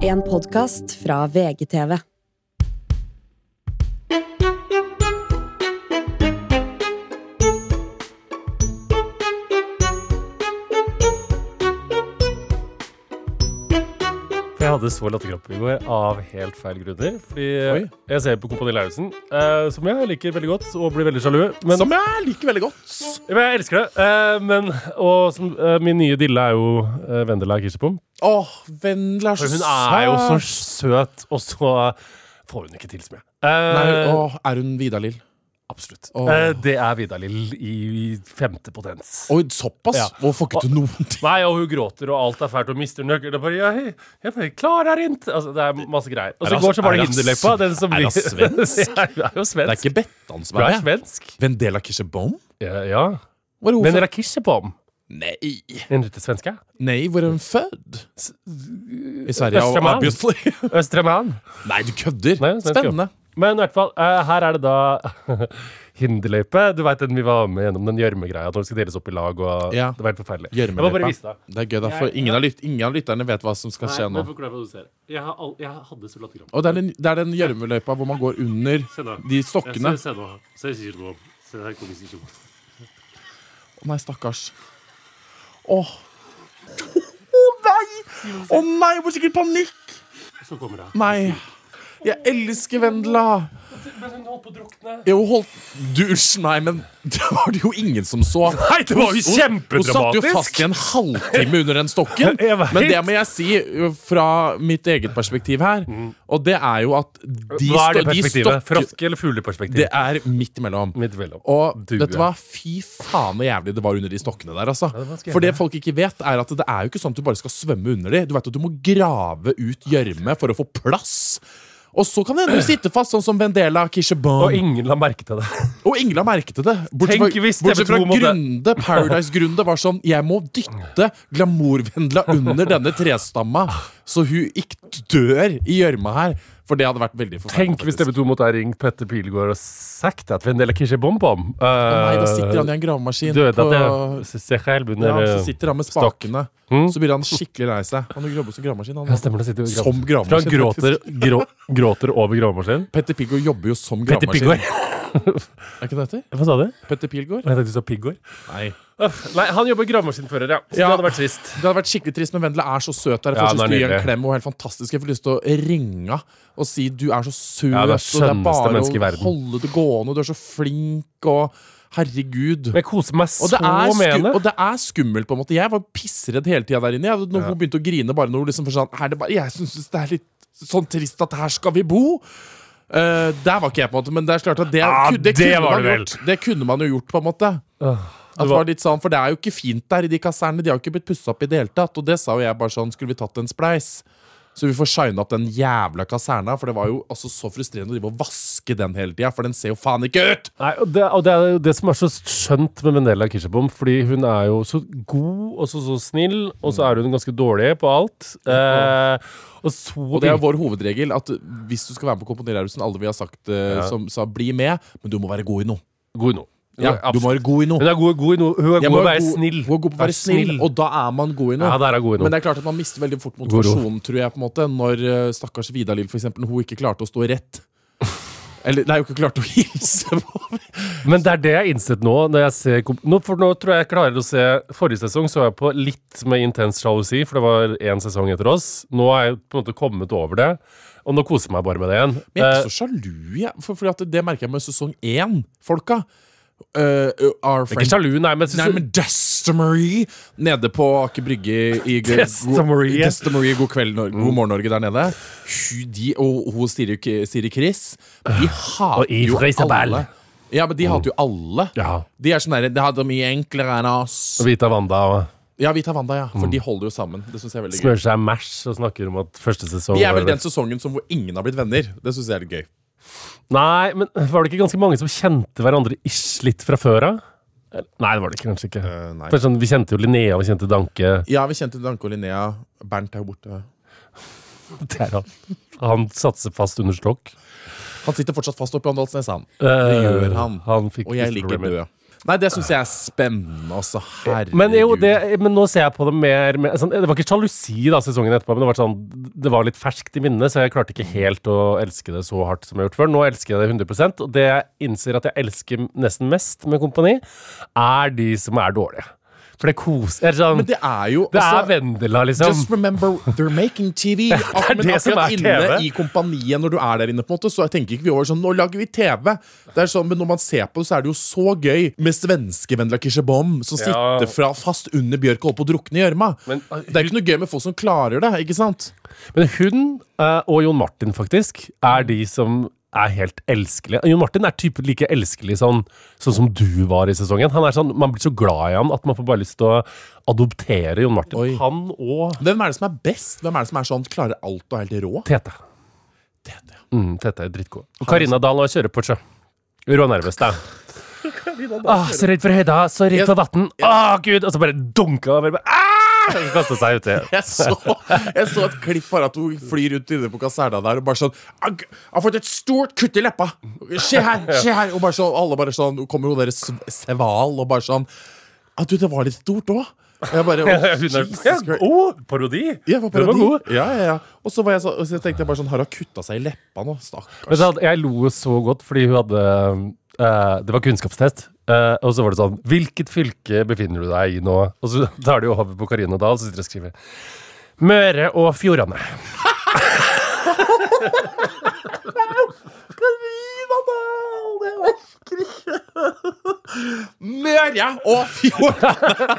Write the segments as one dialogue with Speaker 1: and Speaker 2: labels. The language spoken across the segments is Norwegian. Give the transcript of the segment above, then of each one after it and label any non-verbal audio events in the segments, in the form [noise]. Speaker 1: En podkast fra VGTV.
Speaker 2: For Jeg hadde så latterkrampe i går av helt feil grunner. Fordi
Speaker 3: Oi.
Speaker 2: jeg ser på Kompani Lauritzen, eh, som jeg liker veldig godt, og blir veldig sjalu. Men,
Speaker 3: Som jeg liker veldig godt.
Speaker 2: men jeg elsker det. eh, men, og som, eh, min nye dille er jo eh, Vendela Kirsebom.
Speaker 3: Åh, Vendela er
Speaker 2: For
Speaker 3: så
Speaker 2: hun er jo så
Speaker 3: søt.
Speaker 2: søt, og så får hun ikke til så mye. Eh,
Speaker 3: Nei, åh, er hun Vidar Lill?
Speaker 2: absolutt.
Speaker 3: åh.
Speaker 2: Eh, det er Vidar-Lill i, i femte potens.
Speaker 3: Oi, såpass?
Speaker 2: Ja.
Speaker 3: Hvorfor ikke du noen ting?
Speaker 2: Nei, og hun gråter, og alt er fælt, og mister nøkkelen. og bare, Jeg, jeg bare klarer ikke Altså, det er masse greier. Og så
Speaker 3: Er
Speaker 2: i
Speaker 3: hun-
Speaker 2: går så var det
Speaker 3: er hun
Speaker 2: hinderløypa. Den som
Speaker 3: er hun
Speaker 2: [laughs]
Speaker 3: svensk?
Speaker 2: Ja, hun er jo
Speaker 3: Det er
Speaker 2: svensk.
Speaker 3: ikke Bettan som
Speaker 2: Hun
Speaker 3: er
Speaker 2: er
Speaker 3: med.
Speaker 2: svensk.
Speaker 3: Vendela Kirsebom?
Speaker 2: Ja, ja.
Speaker 3: Hvor er hun
Speaker 2: Men
Speaker 3: født?
Speaker 2: Rakishepom,
Speaker 3: Nei.
Speaker 2: en liten svenske.
Speaker 3: Nei, hvor er hun født? I Sverige, og
Speaker 2: Østermalm.
Speaker 3: obviously.
Speaker 2: Østreman.
Speaker 3: [laughs] Nei, du kødder!
Speaker 2: Nei, svensk, jo.
Speaker 3: Spennende.
Speaker 2: Men i hvert fall, eh, her er det da [laughs] hinderløype. Du veit den vi var med gjennom den gjørmegreia, at når det skal deles opp i lag og
Speaker 3: Ja.
Speaker 2: Det var helt forferdelig. Jeg må bare vise
Speaker 3: Gjørmeløypa.
Speaker 2: deg.
Speaker 3: Det er gøy, da, for ingen av, lyt ingen av lytterne vet hva som skal skje nå.
Speaker 2: Jeg, hadde så latterkrampe.
Speaker 3: Og det er den- det er den gjørmeløypa hvor man går under
Speaker 2: Se nå.
Speaker 3: de stokkene.
Speaker 2: Se nå. Se nå. Se her kommer ikke noe.
Speaker 3: Å nei, stakkars. Åh. Å nei! Å nei, jeg får sikkert panikk!
Speaker 2: Så kommer det.
Speaker 3: Nei. Jeg elsker Vendela.
Speaker 2: Men hun holdt på å drukne.
Speaker 3: Jo, hold Du, unnskyld meg, men det var det jo ingen som så.
Speaker 2: Nei, det var jo
Speaker 3: Hun- Hun satt jo
Speaker 2: kjempedramatisk!
Speaker 3: fast i en halvtime under den stokken.
Speaker 2: [laughs] Jeg vet.
Speaker 3: Men det må jeg si ø, fra mitt eget perspektiv her, og det er jo at de,
Speaker 2: Hva er det
Speaker 3: sto- de
Speaker 2: perspektivet?
Speaker 3: stokker
Speaker 2: Froske- eller fugleperspektiv?
Speaker 3: Det er midt imellom.
Speaker 2: Midt imellom.
Speaker 3: Og
Speaker 2: Du,
Speaker 3: dette
Speaker 2: ja.
Speaker 3: var fy faen så jævlig det var under de stokkene der, altså.
Speaker 2: det var ganske
Speaker 3: For det
Speaker 2: jævlig.
Speaker 3: folk ikke vet, er at det er jo ikke sånn at du bare skal svømme under de. Du vet at du må grave ut gjørme for å få plass. Og så kan det hende du sitter fast, sånn som Vendela Kishebon.
Speaker 2: Og ingen la merke til det.
Speaker 3: Og Ingela merket det. Bortsett
Speaker 2: Tenk
Speaker 3: fra,
Speaker 2: hvis TV2
Speaker 3: bortsett fra
Speaker 2: måtte-
Speaker 3: Grunde, Paradise-Grunde var sånn Jeg må dytte glamourvendla under denne trestamma, så hun ikke dør i gjørma her. For det hadde vært veldig forferdelig.
Speaker 2: Tenk hvis
Speaker 3: faktisk.
Speaker 2: TV2 måtte ha ringt Petter Pilgaard og sagt at Vendela Kirsebom-bom
Speaker 3: Nei, da sitter han i en gravemaskin.
Speaker 2: Døde
Speaker 3: på-
Speaker 2: Eh, at jeg seg selv under
Speaker 3: Ja,
Speaker 2: eh,
Speaker 3: så sitter han med
Speaker 2: stokk.
Speaker 3: spakene.
Speaker 2: Mm.
Speaker 3: Så blir han skikkelig lei seg. Han jobber som gravemaskin.
Speaker 2: Ja,
Speaker 3: Han.
Speaker 2: stemmer det. Sitter
Speaker 3: Som
Speaker 2: For han
Speaker 3: gravemaskin.
Speaker 2: gråter, grå, gråter over gravemaskinen.
Speaker 3: Petter Pilgaard jobber jo som
Speaker 2: Petter
Speaker 3: gravemaskin.
Speaker 2: Pilgaard. [laughs]
Speaker 3: Er ikke det det heter?
Speaker 2: Hva sa du? Jeg
Speaker 3: Petter Pilgaard?
Speaker 2: tenkte du sa Piggaard.
Speaker 3: Nei.
Speaker 2: Uff, Nei, han jobber gravemaskinfører, ja. Så
Speaker 3: Ja.
Speaker 2: det hadde vært trist.
Speaker 3: Det hadde vært skikkelig trist, men Vendela er så søt. Der. Jeg
Speaker 2: Ja, hun er
Speaker 3: får lyst til å gi henne
Speaker 2: nydelig.
Speaker 3: en klem og er helt fantastisk. Jeg får lyst til å ringe henne og si du er så søt,
Speaker 2: Ja,
Speaker 3: og
Speaker 2: det er
Speaker 3: det
Speaker 2: skjønneste
Speaker 3: er bare
Speaker 2: menneske i verden.
Speaker 3: å holde det gående, og du er så flink, og herregud.
Speaker 2: Men jeg koser meg så
Speaker 3: Og det, er
Speaker 2: med
Speaker 3: sku-
Speaker 2: henne.
Speaker 3: og det er skummelt, på en måte. Jeg var pissredd hele tida der inne. Jeg, når hun begynte å grine bare når hun liksom sånn, her, er det bare, Jeg syns det er litt sånn trist at her skal vi bo. Eh, der var ikke jeg, på en måte, men det er klart at det,
Speaker 2: Ah,
Speaker 3: ku-
Speaker 2: det var
Speaker 3: kunne man
Speaker 2: det vel.
Speaker 3: gjort. Det kunne man jo gjort, på en måte. At det var litt sånn, For det er jo ikke fint der i de kasernene. De har jo ikke blitt pussa opp i det hele tatt. Og det sa jo jeg bare sånn Skulle vi tatt en spleis? Så vi får shine opp den jævla kaserna. For det var jo altså så frustrerende å drive og vaske den hele tida, for den ser jo faen ikke ut!
Speaker 2: Nei, og det, og det er jo det som er så skjønt med Vendela Kirsebom, fordi hun er jo så god og så, så snill, og så er hun ganske dårlig på alt. Eh, og så
Speaker 3: Og det er jo vår hovedregel at hvis du skal være med på Komponerhausen, alle vi har sagt eh, som sa bli med, men du må være god i noe.
Speaker 2: god i noe.
Speaker 3: Ja, du må være god i
Speaker 2: Hun
Speaker 3: noe.
Speaker 2: er god, god i noe. Hun er
Speaker 3: Jeg
Speaker 2: god
Speaker 3: må
Speaker 2: i å være
Speaker 3: god-
Speaker 2: snill.
Speaker 3: Hun er god på å være snill, og da er man god i noe.
Speaker 2: Ja, der er god i noe.
Speaker 3: Men det er klart at man mister veldig fort
Speaker 2: ord.
Speaker 3: motivasjonen, tror jeg, på en måte, når eh, stakkars Vidar-Lill, for eksempel, når hun ikke klarte å stå
Speaker 2: [laughs]
Speaker 3: rett. Eller nei, hun ikke klarte å hilse på
Speaker 2: Men det er det jeg har innsett nå. Når jeg ser, kom- nå, for nå tror jeg jeg klarer å se Forrige sesong så jeg på litt med intens sjalusi, for det var én sesong etter oss. Nå er jeg på en måte kommet over det, og nå koser jeg meg bare med det igjen.
Speaker 3: Men jeg er
Speaker 2: Eh,
Speaker 3: ikke så sjalu, jeg. For, fordi at det merker jeg med sesong én, folka. Eh, our
Speaker 2: jeg er
Speaker 3: friend
Speaker 2: ikke sjalu, nei, men jeg synes-
Speaker 3: Nei, men Destemarie nede på Aker Brygge i go-
Speaker 2: Destemarie.
Speaker 3: go- Destemarie, God kveld, Norge, God morgen, Norge der nede. Hun, de, og hun Siri, Siri Chris, de hater
Speaker 2: Yves
Speaker 3: jo
Speaker 2: Reisebel.
Speaker 3: alle. Ja, men de hater jo alle.
Speaker 2: Ja.
Speaker 3: De er sånn derre Det hadde mye enklere enn oss.
Speaker 2: Og Vita Wanda og
Speaker 3: Ja, vi tar Wanda, ja. For de holder jo sammen. Det synes jeg er veldig gøy.
Speaker 2: smører seg mash og snakker om at første sesong
Speaker 3: De er vel
Speaker 2: var-
Speaker 3: den sesongen som hvor ingen har blitt venner. Det synes jeg er litt gøy.
Speaker 2: Nei, men var det ikke ganske mange som kjente hverandre ish litt fra før av? Eller- Nei, det var det ikke, kanskje ikke.
Speaker 3: Eh, nei.
Speaker 2: For sånn, vi kjente jo Linnea, vi kjente Danke.
Speaker 3: Ja, vi kjente Danke og Linnea. Bernt er jo borte.
Speaker 2: Det er han. Han satser fast under stokk.
Speaker 3: Han sitter fortsatt fast oppe i Åndalsnes, han.
Speaker 2: Det
Speaker 3: gjør han.
Speaker 2: han fikk
Speaker 3: Og jeg liker
Speaker 2: pusteproblemer.
Speaker 3: død. Nei, det syns jeg er spennende, altså. Herregud.
Speaker 2: Men, jo, det, men nå ser jeg på det mer med, sånn, Det var ikke sjalusi da sesongen etterpå, men det var, sånn, det var litt ferskt i minnet, så jeg klarte ikke helt å elske det så hardt som jeg har gjort før. Nå elsker jeg det 100 og det jeg innser at jeg elsker nesten mest med Kompani, er de som er dårlige. For det koser eller sånn,
Speaker 3: Men det er jo
Speaker 2: Det
Speaker 3: altså,
Speaker 2: er Vendela, liksom.
Speaker 3: Just remember, they're making TV. Ak, men
Speaker 2: [laughs] det som
Speaker 3: akkurat
Speaker 2: er
Speaker 3: inne
Speaker 2: TV.
Speaker 3: i kompaniet, når du er der inne, på en måte, så tenker ikke vi over sånn Nå lager vi TV! Det er sånn, Men når man ser på det, så er det jo så gøy med svenske Vendela Kirsebom, som
Speaker 2: Ja.
Speaker 3: sitter fra, fast under bjørk og holder på å drukne i gjørma.
Speaker 2: Men, uh,
Speaker 3: Det er ikke noe gøy med folk som klarer det, ikke sant?
Speaker 2: Men hun eh, og Jon Martin, faktisk, er de som er helt elskelige. Jon Martin er typen like elskelig sånn, sånn som du var i sesongen. Han er sånn, Man blir så glad i han at man får bare lyst til å adoptere Jon Martin.
Speaker 3: Oi.
Speaker 2: Han og
Speaker 3: Hvem er det som er best? Hvem er det som er sånn, klarer alt og er helt rå?
Speaker 2: Tete.
Speaker 3: Tete.
Speaker 2: Mm, Tete er drittgod. Og Karina Dahl og kjører Porsche. Rånervøs, da. Ah, så redd for høyda, så redd for vann. Å, gud! Og så bare dunka over. Ah! Kasta seg uti.
Speaker 3: Jeg så, jeg så et klipp bare at hun flyr rundt inne på kaserna der og bare sånn «Ag- Jeg har fått et stort kutt i leppa! Se her! se her Og bare sånn, alle bare sånn Hun kommer jo deres seval og bare sånn Ja, du, det var litt stort òg. Jeg bare «Å,
Speaker 2: Hun er,
Speaker 3: Jesus
Speaker 2: [laughs] ja,
Speaker 3: Christ».
Speaker 2: oh, parodi!
Speaker 3: Ja, det var
Speaker 2: Den var
Speaker 3: parodi.
Speaker 2: god.
Speaker 3: Ja, ja, ja. Og så, var jeg så, og så tenkte jeg bare sånn Har hun kutta seg i leppa nå? Stakkars.
Speaker 2: Men så, hadde- jeg lo så godt fordi hun hadde eh, Det var kunnskapstest. eh, og så var det sånn Hvilket fylke befinner du deg i nå? Og så [laughs] tar de jo over på Karina Dahl og sitter og skriver Møre og Fjordane.
Speaker 3: Møre og Fjordane!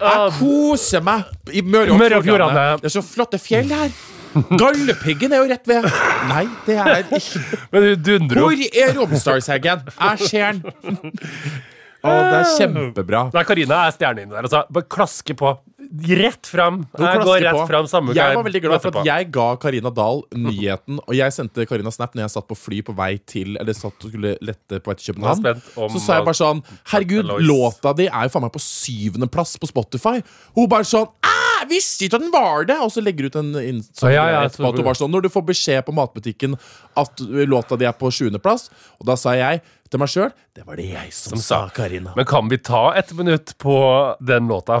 Speaker 3: Jeg koser meg i Møre og
Speaker 2: Møre og
Speaker 3: Fjordane.
Speaker 2: Fjordane.
Speaker 3: Det er så flotte fjell her. Galdhøpiggen er jo rett ved. Nei, det er ikke
Speaker 2: Men hun dundrer
Speaker 3: Hvor
Speaker 2: opp.
Speaker 3: er Romsdalsheggen? Jeg ser
Speaker 2: [laughs]
Speaker 3: den. Å, det er kjempebra.
Speaker 2: Nei, Karina er stjernen inni der. Altså, bare klaske på. Rett fram.
Speaker 3: Hun
Speaker 2: Jeg
Speaker 3: klasker
Speaker 2: går rett
Speaker 3: på.
Speaker 2: fram. Samme hva
Speaker 3: jeg var veldig glad for
Speaker 2: møter på.
Speaker 3: at jeg ga Karina Dahl nyheten, og jeg sendte Karina Snap når jeg satt på fly på vei til Eller satt og skulle lette på vei
Speaker 2: Jeg
Speaker 3: til
Speaker 2: er
Speaker 3: København.
Speaker 2: spent om
Speaker 3: Så sa jeg bare sånn Herregud,
Speaker 2: Alois-
Speaker 3: låta di er jo faen meg på syvendeplass på Spotify. Hun bare sånn «Ah, Visste ikke at den var det! Og så legger hun ut en
Speaker 2: Å,
Speaker 3: Instagram
Speaker 2: ja, ja,
Speaker 3: etterpå
Speaker 2: så-
Speaker 3: at hun bare sånn Når du får beskjed på matbutikken at låta di er på sjuendeplass, og da sa jeg til meg sjøl Det var det jeg som, sa, Karina.
Speaker 2: Men kan vi ta et minutt på den låta? [laughs]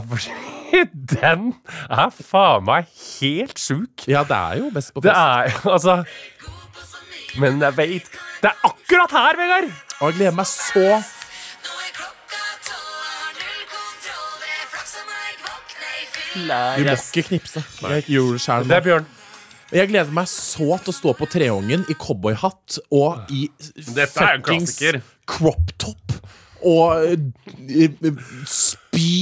Speaker 2: For den er faen meg helt sjuk.
Speaker 3: ja, det er jo best på
Speaker 2: Det
Speaker 3: fest.
Speaker 2: er [laughs] altså Men jeg veit Det er akkurat her, Vegard!
Speaker 3: Og jeg gleder meg så Du må ikke knipse. Jeg gjorde det selv nå.
Speaker 2: Det er Bjørn.
Speaker 3: Jeg gleder meg så til å stå på Treungen i cowboyhatt og i
Speaker 2: Dette er en
Speaker 3: fuckings
Speaker 2: klassiker.
Speaker 3: crop top. Og eh, eh, spy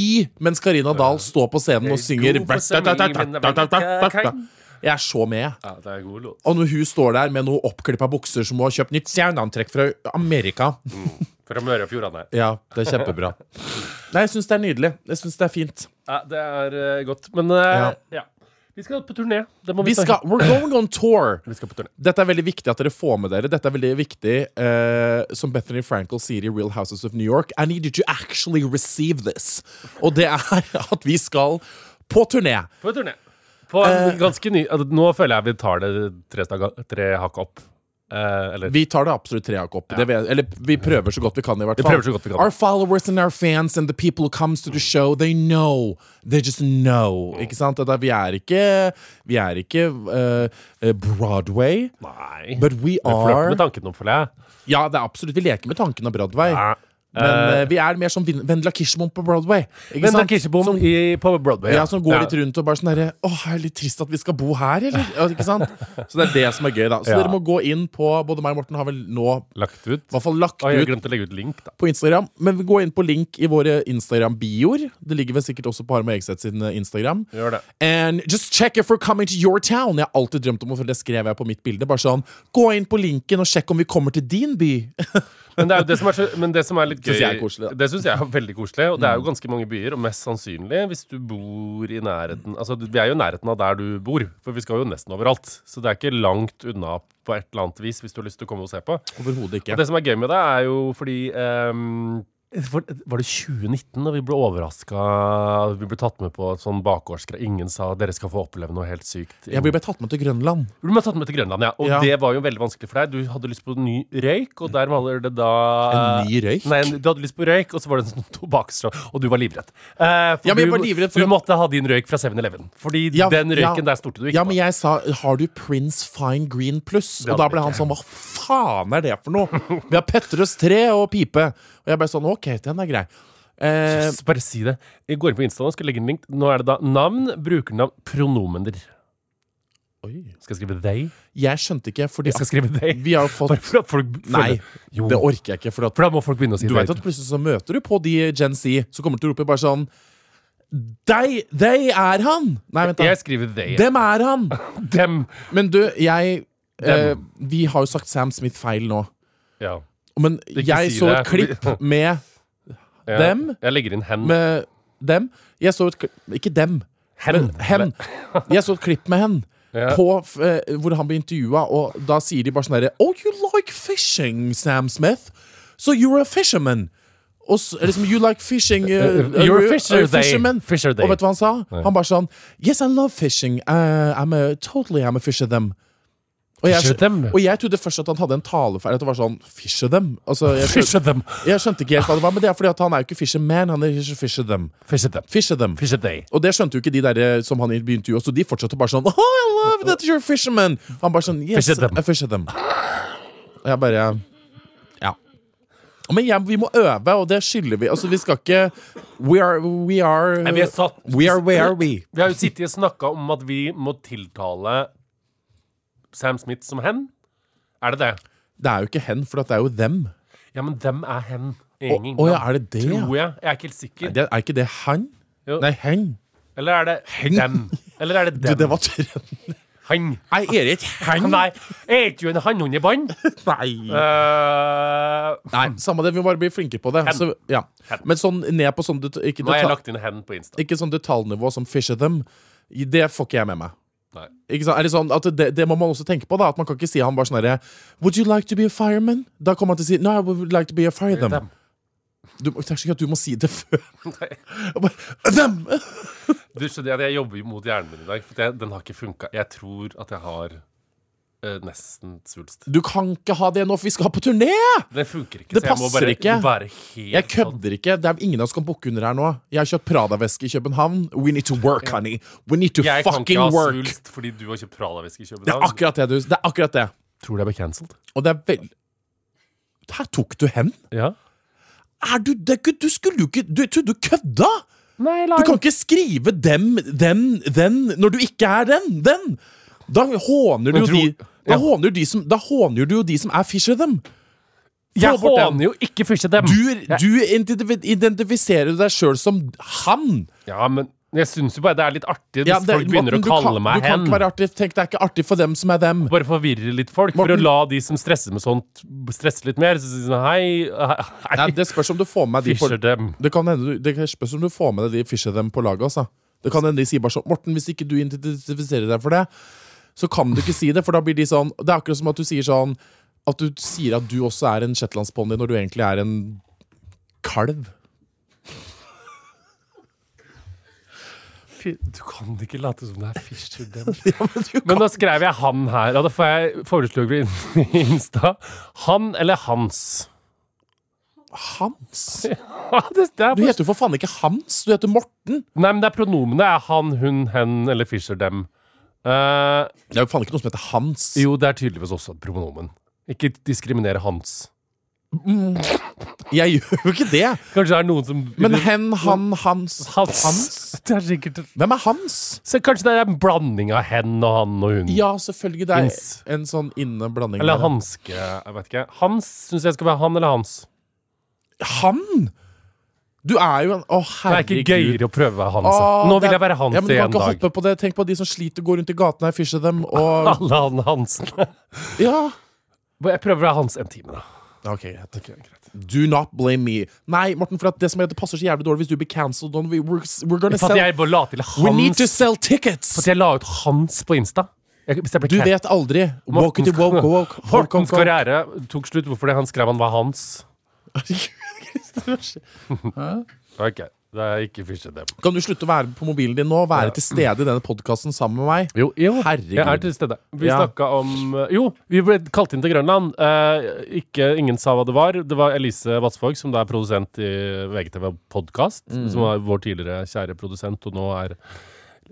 Speaker 3: mens Karina Dahl står på scenen og synger
Speaker 2: god på stemning, men-
Speaker 3: Jeg er så med.
Speaker 2: Ja, det er en god låt.
Speaker 3: Og når hun står der med noe oppklippa bukser som hun har kjøpt nytt saunantrekk fra Amerika
Speaker 2: Fra Møre og Fjordane.
Speaker 3: Ja, det er kjempebra. Nei, jeg syns det er nydelig. Jeg synes det er fint.
Speaker 2: Ja, det er eh, godt. Men eh,
Speaker 3: Ja.
Speaker 2: ja. Vi skal på turné. Det må vi,
Speaker 3: Vi
Speaker 2: ta-
Speaker 3: skal We're going on tour!
Speaker 2: vi skal på turné.
Speaker 3: Dette er veldig viktig at dere får med dere. Dette er veldig viktig eh, Som Bethany Frankel sier i Real Houses of New York I need you to actually receive this. Og det er [laughs] at vi skal på turné.
Speaker 2: På turné. På en ganske ny altså, Nå føler jeg vi tar det tre, staga- tre hakk opp. Eh, eller
Speaker 3: Vi tar det absolutt treak opp. Det vet- eller vi prøver så godt vi kan. i hvert
Speaker 2: Vi
Speaker 3: fall
Speaker 2: prøver så godt vi kan.
Speaker 3: Our followers and our fans and the people who comes to the show, they know. They just know. Ikke sant? Dette, er- vi er ikke, vi er ikke eh, Broadway,
Speaker 2: Nei.
Speaker 3: but we
Speaker 2: Vi flørter
Speaker 3: are
Speaker 2: med tanken om for deg.
Speaker 3: Ja, det er absolutt, vi leker med tanken av Broadway.
Speaker 2: Ja.
Speaker 3: Men eh, vi er mer som Vin- Vendela Kirsebom på Broadway. Ikke
Speaker 2: Men det
Speaker 3: sant?
Speaker 2: er Kirsebom
Speaker 3: Som-
Speaker 2: i- på Broadway.
Speaker 3: ja, som går litt rundt og bare sånn derre Å, er det litt trist at vi skal bo her, eller? Ja, ikke sant? Så det er det som er gøy, da. Så
Speaker 2: Ja.
Speaker 3: dere må gå inn på Både meg og Morten har vel nå i
Speaker 2: Lagt ut.
Speaker 3: hvert fall lagt
Speaker 2: Å, jeg
Speaker 3: ut
Speaker 2: glemte å legge ut link, da.
Speaker 3: på Instagram, men vi går inn på link i våre Instagram-bioer. Det ligger vel sikkert også på Harm og Egseth sin eh, Instagram.
Speaker 2: Gjør det.
Speaker 3: And just check if we're coming to your town. Jeg har alltid drømt om, og det skrev jeg på mitt bilde, bare sånn Gå inn på linken og sjekk om vi kommer til din by. [laughs]
Speaker 2: Men det, er jo det som er så, men det som er litt gøy
Speaker 3: Synes jeg er koselig, da. Mm.
Speaker 2: Det syns jeg er veldig koselig. Og det er jo ganske mange byer, og mest sannsynlig hvis du bor i nærheten Altså, vi er jo i nærheten av der du bor, for vi skal jo nesten overalt. Så det er ikke langt unna på et eller annet vis hvis du har lyst til å komme og se på.
Speaker 3: Overhodet ikke.
Speaker 2: Og det som er gøy med det, er jo fordi ehm, Var var det 2019 da vi ble overraska? Vi ble tatt med på et sånn bakgårdsgreie. Ingen sa dere skal få oppleve noe helt sykt.
Speaker 3: Jeg ble tatt med til Grønland.
Speaker 2: Du ble tatt med til Grønland, ja. Og
Speaker 3: Ja.
Speaker 2: det var jo veldig vanskelig for deg. Du hadde lyst på ny røyk, og der var det da
Speaker 3: En ny røyk?
Speaker 2: Nei, du hadde lyst på røyk, og så var det en sånn [laughs] tobakkstråd, og du var livredd. Eh, for
Speaker 3: Ja, men jeg
Speaker 2: du,
Speaker 3: var livredd for
Speaker 2: du
Speaker 3: at-
Speaker 2: måtte ha din røyk fra 7-Eleven. Fordi
Speaker 3: Ja,
Speaker 2: den røyken
Speaker 3: ja.
Speaker 2: der stolte du ikke
Speaker 3: Ja, men
Speaker 2: på.
Speaker 3: jeg sa 'Har du Prince Fine Green
Speaker 2: Det
Speaker 3: Plus?' Og da
Speaker 2: hadde
Speaker 3: ble
Speaker 2: jeg
Speaker 3: han
Speaker 2: ikke.
Speaker 3: sånn 'Hva faen er det
Speaker 2: [laughs]
Speaker 3: for noe?' Vi har Petrus 3 og pipe. Og jeg ble sånn 'Ok, den er grei'. Eh,
Speaker 2: Så Bare si det. Jeg går inn på Instaen og skal legge inn link. Nå er det da navn, brukernavn, pronomender.
Speaker 3: oi.
Speaker 2: Skal jeg skrive they?
Speaker 3: Eh, Jeg skjønte ikke, fordi
Speaker 2: Jeg skal skrive they.
Speaker 3: vi har jo
Speaker 2: Bare
Speaker 3: fått
Speaker 2: for at folk
Speaker 3: Nei,
Speaker 2: Jo,
Speaker 3: Det orker jeg ikke. For, at,
Speaker 2: for da må folk begynne å si
Speaker 3: du
Speaker 2: they.
Speaker 3: vet at plutselig så møter du på de Gen Z som kommer til å rope bare sånn Dei, dei er han! Nei, vent, da.
Speaker 2: Jeg skriver they.
Speaker 3: Dem er han!
Speaker 2: Dem.
Speaker 3: Men du, jeg eh,
Speaker 2: Dem.
Speaker 3: Vi har jo sagt Sam Smith feil nå.
Speaker 2: Ja.
Speaker 3: Men
Speaker 2: Ikke
Speaker 3: jeg
Speaker 2: si
Speaker 3: så
Speaker 2: det.
Speaker 3: et
Speaker 2: [laughs]
Speaker 3: klipp med
Speaker 2: Ja.
Speaker 3: Dem?
Speaker 2: Jeg legger inn hen.
Speaker 3: med dem. Jeg så et klipp Ikke dem.
Speaker 2: hen.
Speaker 3: Men hen. Jeg så et klipp med hen.
Speaker 2: Ja.
Speaker 3: På, f- eh, hvor han blir intervjua, og da sier de bare sånn herre Oh, you like fishing, Sam Smith. So you're a fisherman. Og s- liksom, you like
Speaker 2: [laughs]
Speaker 3: fishing eh,
Speaker 2: Uh, You're a fisher, they.
Speaker 3: fisherman.
Speaker 2: Fisher, they.
Speaker 3: Og vet du hva han sa? Han bare sånn Yes, I love fishing. Uh, I'm a, totally I'm a fisher them. Og jeg,
Speaker 2: Fisher them?
Speaker 3: og jeg trodde først at han hadde en talefeil. At det var sånn Fisher them. Altså, jeg, skjønte,
Speaker 2: Fisher them.
Speaker 3: jeg skjønte ikke helt hva det var, men det er fordi at han er jo ikke fisher man, han er fisher them.
Speaker 2: Fisher them.
Speaker 3: Fisher them.
Speaker 2: Fisher they.
Speaker 3: Og det skjønte jo ikke de der eh, som han begynte jo, så de fortsatte bare sånn Oh, I love that you're a fisherman! Han bare sånn Yes,
Speaker 2: Fisher them.
Speaker 3: I fisher them. Og jeg bare Ja. Men jeg, vi må øve, og det skylder vi. Altså, vi skal ikke We are We are
Speaker 2: Nei, vi er satt-
Speaker 3: Uh, We are where we.
Speaker 2: [clears throat] Vi har jo sittet og snakka om at vi må tiltale Sam Smith som hen. Er det det?
Speaker 3: Det er jo ikke hen, for det er jo dem.
Speaker 2: Ja, men dem er hen. i
Speaker 3: Å
Speaker 2: England.
Speaker 3: å ja, er det det? ja?
Speaker 2: Tror jeg. Jeg er ikke helt sikker.
Speaker 3: Det, er ikke det han?
Speaker 2: Jo.
Speaker 3: Nei, hen.
Speaker 2: Eller er det dem? Eller er det
Speaker 3: [laughs] Du,
Speaker 2: dem?
Speaker 3: det var trønd.
Speaker 2: Han.
Speaker 3: Nei, Erik, hen?
Speaker 2: Nei, jeg er ikke jo en hannhund i bånd.
Speaker 3: [laughs] Nei.
Speaker 2: Eh,
Speaker 3: Nei, samme det, vi må bare bli flinke på det.
Speaker 2: Hen.
Speaker 3: Så, ja.
Speaker 2: Hen.
Speaker 3: Men sånn ned på sånn det, ikke
Speaker 2: nå har jeg
Speaker 3: detalj-
Speaker 2: lagt inn hen på Insta.
Speaker 3: ikke sånn detaljnivå som fisher them. I- Det får ikke jeg med meg.
Speaker 2: Nei.
Speaker 3: Ikke sant? Er det, sånn at det, det må man også tenke på. da At Man kan ikke si han bare sånn herre Would you like to be a fireman? Da kommer han til å si No, I would like to be a fire them.
Speaker 2: Dem.
Speaker 3: Du, det er så ikke at du må si det før. [laughs] Og bare, Them!
Speaker 2: [laughs] Du skjønner at jeg jobber jo mot hjernen min i dag, for det, den har ikke funka. Jeg tror at jeg har eh, nesten svulst.
Speaker 3: Du kan ikke ha det nå, for vi skal på turné!
Speaker 2: Den funker ikke.
Speaker 3: Det
Speaker 2: så jeg må
Speaker 3: passer
Speaker 2: bare
Speaker 3: ikke.
Speaker 2: være helt
Speaker 3: Jeg
Speaker 2: sånn.
Speaker 3: kødder ikke. Det er ingen av oss som kan booke under her nå. Jeg har kjøpt Prada-veske i København. We need to work, honey. We need to
Speaker 2: Jeg kan ikke
Speaker 3: fucking
Speaker 2: ha
Speaker 3: work.
Speaker 2: svulst fordi du har kjøpt Prada-veske i
Speaker 3: Det er
Speaker 2: København.
Speaker 3: akkurat det, du. Det er akkurat det.
Speaker 2: Tror du jeg ble cancelled?
Speaker 3: Og det er vel Her tok du hen?
Speaker 2: Ja.
Speaker 3: Er du det, er ikke- Du skulle jo ikke Du jeg trodde du kødda!
Speaker 2: Nei,
Speaker 3: Du kan ikke skrive dem, den, den når du ikke er den, den! Da håner du
Speaker 2: Men
Speaker 3: jo
Speaker 2: tro-
Speaker 3: de Da
Speaker 2: ja.
Speaker 3: håner du de som Da håner du jo de som er fisher them.
Speaker 2: Jeg
Speaker 3: Få bort den.
Speaker 2: håner jo ikke Fisher Dem.
Speaker 3: Du, du identif- identifiserer deg sjøl som han!
Speaker 2: Ja, men jeg syns jo bare det er litt artig hvis
Speaker 3: Ja, det-
Speaker 2: folk begynner
Speaker 3: Morten, du
Speaker 2: å kalle
Speaker 3: kan,
Speaker 2: meg
Speaker 3: Du kan
Speaker 2: hen.
Speaker 3: ikke være artig. Tenk, det er ikke artig for dem som er dem.
Speaker 2: Bare forvirre litt folk, for
Speaker 3: Morten-
Speaker 2: å la de som stresser med sånt, stresse litt mer. Så sier de sånn hei, hei,
Speaker 3: Nei, det spørs om du får med de på,
Speaker 2: Fisher Dem.
Speaker 3: Det kan hende du- det spørs om du får med deg de fisher dem på laget. Altså. Det kan hende de sier bare sånn Morten, hvis ikke du identifiserer deg for det, så kan du ikke si det, for da blir de sånn Det er akkurat som at du sier sånn At du sier at du også er en shetlandsponni når du egentlig er en kalv.
Speaker 2: Fy- Du kan ikke late som det er Fisher [laughs] Dem. Men da skrev jeg han her, og da får jeg foreslår vi inn i Insta. Han eller hans? [laughs]
Speaker 3: Hans?
Speaker 2: Ja, det, det er
Speaker 3: Du heter jo for faen ikke Hans, du heter Morten.
Speaker 2: Nei, men det er pronomene. Er han, hun, hen eller Fisher Dem? Eh,
Speaker 3: Det er jo faen ikke noe som heter Hans.
Speaker 2: jo, det er tydeligvis også pronomen. Ikke diskriminere hans.
Speaker 3: Jeg gjør jo ikke det.
Speaker 2: Kanskje det er noen som
Speaker 3: Men hen, han, hans.
Speaker 2: Hans. Det er sikkert
Speaker 3: Hvem er Hans?
Speaker 2: Så kanskje det er en blanding av hen og han og hun.
Speaker 3: Ja, selvfølgelig. Det
Speaker 2: Hans.
Speaker 3: er en sånn inne blanding.
Speaker 2: Eller
Speaker 3: der.
Speaker 2: hanske. Jeg vet ikke. Hans syns jeg skal være han eller hans.
Speaker 3: Han? Du er jo en Å,
Speaker 2: Det er ikke
Speaker 3: herregud.
Speaker 2: gøyere å prøve å være hans.
Speaker 3: Å,
Speaker 2: Nå
Speaker 3: det
Speaker 2: vil
Speaker 3: er-
Speaker 2: jeg være hans
Speaker 3: ja, men du
Speaker 2: i en
Speaker 3: kan
Speaker 2: dag.
Speaker 3: ikke
Speaker 2: Ah.
Speaker 3: hoppe på det. Tenk på de som sliter, går rundt i gatene her, fisher dem og
Speaker 2: [laughs] Alle han Hansen.
Speaker 3: Ja.
Speaker 2: Jeg prøver å være hans en time, da.
Speaker 3: Ok, greit. Do not blame me. Nei, Morten, for at det som heter passer så jævlig dårlig hvis du blir cancelled. on- we- We're, we're gonna
Speaker 2: For at
Speaker 3: sell
Speaker 2: jeg bare la til
Speaker 3: We need to
Speaker 2: hans
Speaker 3: sell tickets!
Speaker 2: For at jeg la ut hans på Insta. Jeg, hvis jeg ble
Speaker 3: Du
Speaker 2: krenkt.
Speaker 3: vet aldri. Walk it, walk, walk, walk.
Speaker 2: Hortens karriere tok slutt hvorfor det han skrev han var hans. Ok, det er ikke Fish and Dem.
Speaker 3: [laughs] Kan du slutte å være på mobilen din nå? Være til stede i denne podkasten sammen med meg?
Speaker 2: Jo, jo. Jeg er
Speaker 3: Herregud.
Speaker 2: til stede. Vi
Speaker 3: Ja.
Speaker 2: snakka om eh, Jo, vi ble kalt inn til Grønland. Eh, ikke, ingen sa hva det var. Det var Elise Vassvåg, som da er produsent i VGTV Podkast. Som var vår tidligere kjære produsent, og nå er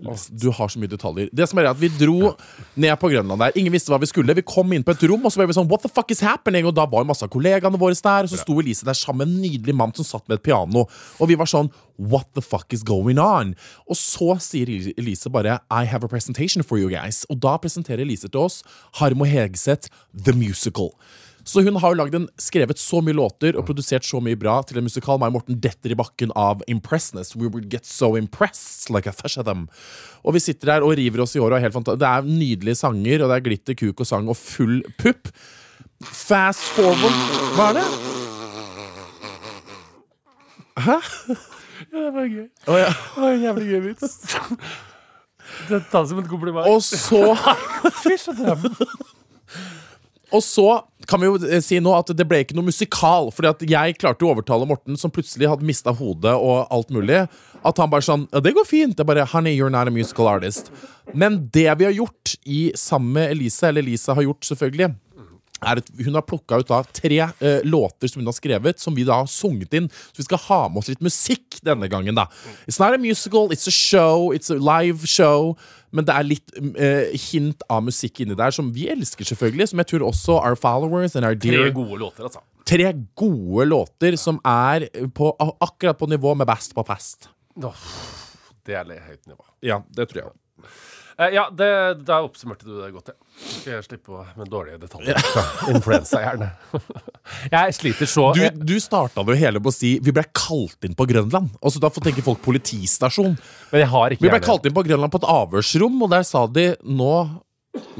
Speaker 3: Åh, Du har så mye detaljer. Det som er at Vi dro ned på Grønland der. Ingen visste hva vi skulle. Vi kom inn på et rom, og så ble vi sånn What the fuck is happening? Og da var jo masse av kollegaene våre der. Og så sto Elise der sammen med en nydelig mann som satt med et piano. Og vi var sånn What the fuck is going on? Og så sier Elise bare I have a presentation for you guys. Og da presenterer Elise til oss Harmo Hegseth The Musical. Så hun har jo lagd en, skrevet så mye låter og produsert så mye bra til en musikal. Mai Morten detter i bakken av Impressness. We would get so impressed like a fish at them. Og vi sitter der og river oss i håret. og er helt fanta- Det er nydelige sanger, og det er glitter, kuk og sang og full pupp. Fast forward Hva er det?
Speaker 2: Det var gøy.
Speaker 3: Å, ja.
Speaker 2: Jævlig gøy vits. [laughs] Det tas som et kompliment.
Speaker 3: Og så
Speaker 2: Fish and Dem.
Speaker 3: Og så kan vi jo eh, si nå at det ble ikke noe musikal. Fordi at jeg klarte å overtale Morten, som plutselig hadde mista hodet og alt mulig, at han bare sånn Ja, det går fint. Det er bare Honey, you're not a musical artist. Men det vi har gjort i sammen med Elise, eller Elise har gjort, selvfølgelig er at Hun har plukka ut da tre eh, låter som hun har skrevet, som vi da har sunget inn. Så vi skal ha med oss litt musikk denne gangen. da It's not a musical, it's a show, it's a live show. Men det er litt eh, hint av musikk inni der som vi elsker, selvfølgelig. Som jeg tror også our followers and our dear
Speaker 2: Tre gode låter, altså.
Speaker 3: Tre gode låter som er på, akkurat på nivå med Best på fest.
Speaker 2: Åh, Det er litt høyt nivå.
Speaker 3: Ja, det tror jeg òg.
Speaker 2: Eh, ja, det, da oppsummerte du det godt, ja. Skal jeg slippe å med dårlige detaljer fra
Speaker 3: [laughs]
Speaker 2: influensahjerne. [laughs] jeg sliter så
Speaker 3: Du, du starta det jo hele med å si 'vi ble kalt inn på Grønland'. Og så Da får tenke folk politistasjon.
Speaker 2: Men jeg har ikke
Speaker 3: Vi ble
Speaker 2: hjerne.
Speaker 3: kalt inn på Grønland på et avhørsrom, og der sa de 'nå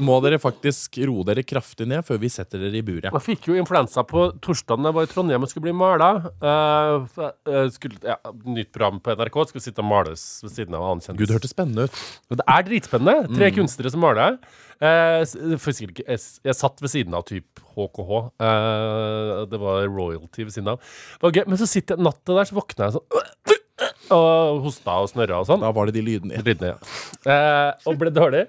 Speaker 3: må dere faktisk roe dere kraftig ned før vi setter dere i buret'.
Speaker 2: Jeg fikk jo influensa på torsdagen da jeg var i Trondheim og skulle bli mala. Eh, eh, skulle, ja, nytt program på NRK. Skulle sitte og males ved siden av en annen kjendis.
Speaker 3: Gud, det hørtes spennende ut.
Speaker 2: Men Det er dritspennende.
Speaker 3: Mm.
Speaker 2: Tre kunstnere som maler. Eh, s- for sikkert ikke- jeg, s- jeg satt ved siden av typ HKH. Eh, det var royalty ved siden av. Det var gøy. Men så sitter jeg natta der, så våkner jeg sånn Og hosta og snørra og sånn.
Speaker 3: Da var det de lydene i.
Speaker 2: Lydene, ja. eh, og ble dårlig.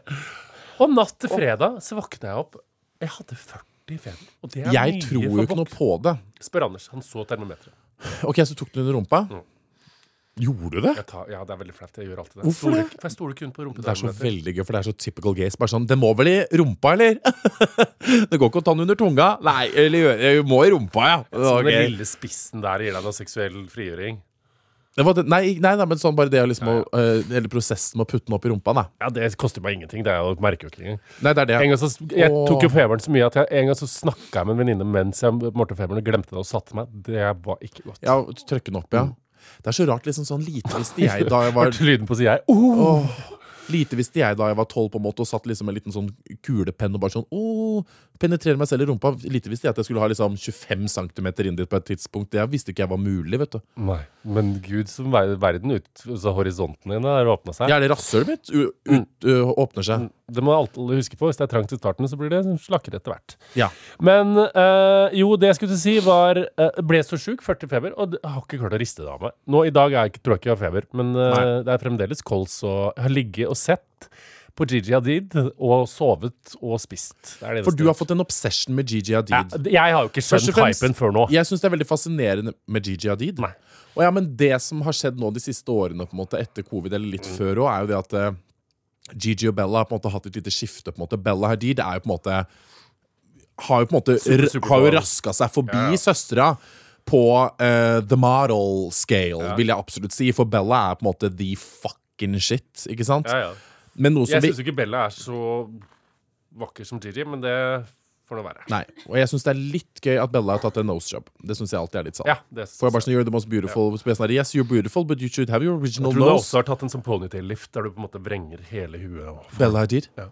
Speaker 2: Og natt til fredag så våkna jeg opp. Jeg hadde 40 feber. Og det er
Speaker 3: Jeg
Speaker 2: mye
Speaker 3: tror
Speaker 2: for
Speaker 3: jo ikke
Speaker 2: vok-
Speaker 3: noe på det.
Speaker 2: Spør Anders. Han så termometeret.
Speaker 3: Ok, Så tok du den under rumpa? Gjorde du det?
Speaker 2: Jeg tar- Ja, det er veldig flaut. Jeg gjør alltid det.
Speaker 3: Hvorfor
Speaker 2: Stoler
Speaker 3: det?
Speaker 2: ikke- For jeg stoler kun på
Speaker 3: Det er så
Speaker 2: rumpetermometer.
Speaker 3: veldig gøy, for det er så typical gays. Bare sånn, Det må vel i rumpa, eller? [laughs] det går ikke å ta den under tunga. Nei, eller gjøre jeg Må i rumpa, ja. Det
Speaker 2: Så
Speaker 3: var
Speaker 2: Sånn Den
Speaker 3: gøy.
Speaker 2: lille spissen der gir deg noe seksuell frigjøring.
Speaker 3: Det var det, nei, nei, nei, men sånn bare det å liksom å, eh, Hele prosessen med å putte den opp i rumpa, da.
Speaker 2: Ja, det koster meg ingenting. Det er jo merker jo ikke engang.
Speaker 3: Nei, det er det.
Speaker 2: En gang så, jeg
Speaker 3: Åh.
Speaker 2: tok jo feberen så mye at jeg, en gang så snakka jeg med en venninne mens jeg målte feberen og glemte det og satte meg. Det var ikke godt.
Speaker 3: Ja, Trykke den opp, ja. Det er så rart, liksom sånn lite visste jeg da [laughs] jeg
Speaker 2: [laughs]
Speaker 3: var
Speaker 2: Hørte lyden på sida her. Oh,
Speaker 3: Lite visste jeg da jeg var tolv, på en måte og satt liksom med en liten sånn kulepenn og bare sånn Åh, penetrerer meg selv i rumpa. Lite visste jeg at jeg skulle ha liksom 25 cm inn dit på et tidspunkt. Det visste ikke jeg var mulig, vet du.
Speaker 2: Nei, men gud som ver- verden ut, så horisonten din har åpna seg.
Speaker 3: Ja, er det rasshølet mitt u ut, ø, åpner seg?
Speaker 2: Det må alle huske på. Hvis det er trangt i starten, så blir det slakkere etter hvert.
Speaker 3: Ja.
Speaker 2: Men eh, jo, det jeg skulle til å si, var eh, Ble så sjuk, 40 feber, og det- jeg har ikke klart å riste det av meg. Nå i dag er jeg, ikke- tror jeg ikke jeg har feber, men eh,
Speaker 3: Nei.
Speaker 2: det er fremdeles kols og Jeg har ligget og sett på Gigi Hadid og sovet og spist. Det er det
Speaker 3: For
Speaker 2: eneste.
Speaker 3: du har fått en obsession med Gigi Hadid.
Speaker 2: jeg, jeg har jo ikke
Speaker 3: Først og
Speaker 2: skjønt
Speaker 3: fremst-
Speaker 2: hypen før nå.
Speaker 3: Jeg syns det er veldig fascinerende med Gigi Hadid.
Speaker 2: Nei.
Speaker 3: Og ja, men det som har skjedd nå de siste årene, på en måte, etter covid, eller litt før òg, er jo det at eh, Gigi og Bella har på en måte hatt et lite skifte. på en måte Bella Hadid er jo på en måte har jo på en måte
Speaker 2: Super,
Speaker 3: r-
Speaker 2: super
Speaker 3: Har jo
Speaker 2: bra.
Speaker 3: raska seg forbi søstera på eh, the model scale, vil jeg absolutt si. For Bella er på en måte the fucking shit, ikke sant?
Speaker 2: Ja, ja.
Speaker 3: Men noe som
Speaker 2: Jeg
Speaker 3: vi-
Speaker 2: syns ikke Bella er så vakker som Gigi, men det får nå være.
Speaker 3: Nei, og jeg syns det er litt gøy at Bella har tatt en nose job. Det syns jeg alltid er litt sant.
Speaker 2: Ja, det
Speaker 3: For jeg bare sånn, you're the most beautiful Så blir jeg sånn, Yes, you're beautiful, but you should have your original
Speaker 2: Jeg tror du
Speaker 3: nose.
Speaker 2: også har tatt en sånn ponytail-lift der du på en måte vrenger hele huet. og-
Speaker 3: Bella Hadid.
Speaker 2: Ja.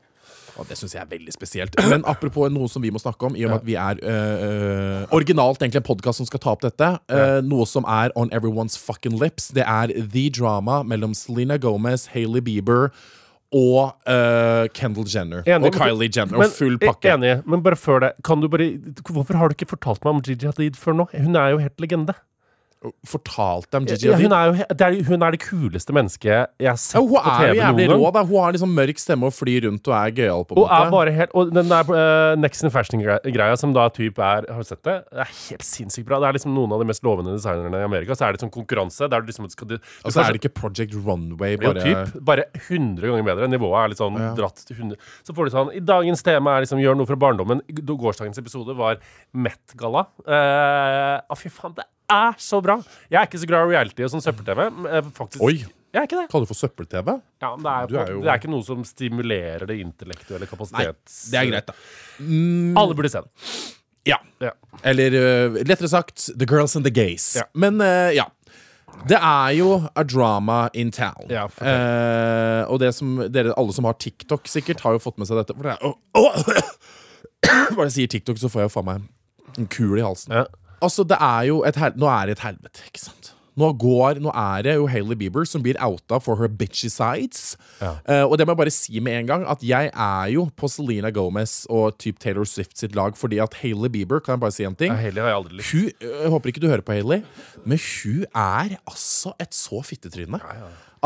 Speaker 3: Og det syns jeg er veldig spesielt. Men apropos noe som vi må snakke om, i og med at vi er øh, øh, originalt egentlig en podkast som skal ta opp dette, øh, noe som er on everyone's fucking lips, det er the drama mellom Selena Gomez, Hailey Bieber og øh, Kendall Jenner.
Speaker 2: Enig,
Speaker 3: og
Speaker 2: men-
Speaker 3: Kylie Jenner.
Speaker 2: men- eh, e-
Speaker 3: og full pakke.
Speaker 2: Enig, men bare før det. Kan du bare, hvorfor har du ikke fortalt meg om Gigi Hadid før nå? Hun er jo helt legende.
Speaker 3: fortalt dem Gigi
Speaker 2: Ja,
Speaker 3: Hadid.
Speaker 2: hun, er jo, he- det er, hun er det kuleste mennesket jeg har sett
Speaker 3: Ja, hun
Speaker 2: på
Speaker 3: er jo
Speaker 2: TV
Speaker 3: jævlig
Speaker 2: noen
Speaker 3: rå.
Speaker 2: gang.
Speaker 3: Da. Hun har liksom mørk stemme og flyr rundt og er gøyal. på en
Speaker 2: Hun er
Speaker 3: måte
Speaker 2: bare helt Og den der eh, Next in Fashion-greia som da typ er Har du sett det? Det er helt sinnssykt bra. Det er liksom noen av de mest lovende designerne i Amerika. Så er det sånn konkurranse der du liksom skal du, du
Speaker 3: Altså
Speaker 2: kanskje-
Speaker 3: Er det ikke Project Runway?
Speaker 2: jo,
Speaker 3: Bare
Speaker 2: typ, bare 100 ganger bedre. Nivået er litt sånn dratt til 100. Så får du sånn I dagens tema er liksom gjør noe fra barndommen. G- Gårsdagens episode var Met-galla. Eh, ah, fy faen, det er så bra! Jeg er ikke så glad i reality og sånn søppel-TV. men, eh, Faktisk.
Speaker 3: Oi.
Speaker 2: Jeg er ikke det.
Speaker 3: Kaller du for søppel-TV?
Speaker 2: Ja, men det er,
Speaker 3: Du er jo-
Speaker 2: det er ikke noe som stimulerer det intellektuelle kapasitets... Mm.
Speaker 3: da.
Speaker 2: Alle burde se det.
Speaker 3: Ja.
Speaker 2: Ja.
Speaker 3: Eller øh, lettere sagt The Girls and the Gays.
Speaker 2: Ja.
Speaker 3: Men øh, ja. Det er jo a drama in town.
Speaker 2: Ja, fortell.
Speaker 3: Eh, og det som dere, alle som har TikTok, sikkert har jo fått med seg dette. For det er, åh, [coughs] åh! Bare jeg sier TikTok, så får jeg jo faen meg en kul i halsen.
Speaker 2: Ja.
Speaker 3: Altså, det er jo et hel Nå er det et helvete, ikke sant? Nå går, nå er det jo Hailey Bieber som blir outa for her bitchy sides. Eh, og det må jeg bare si med en gang, at jeg er jo på Selena Gomez og typ Taylor Swift sitt lag, fordi at Hailey Bieber, kan jeg bare si en ting?
Speaker 2: Ja, Hailey har jeg aldri likt.
Speaker 3: Hun, jeg håper ikke du hører på Hailey, men hun er altså et så fittetryne.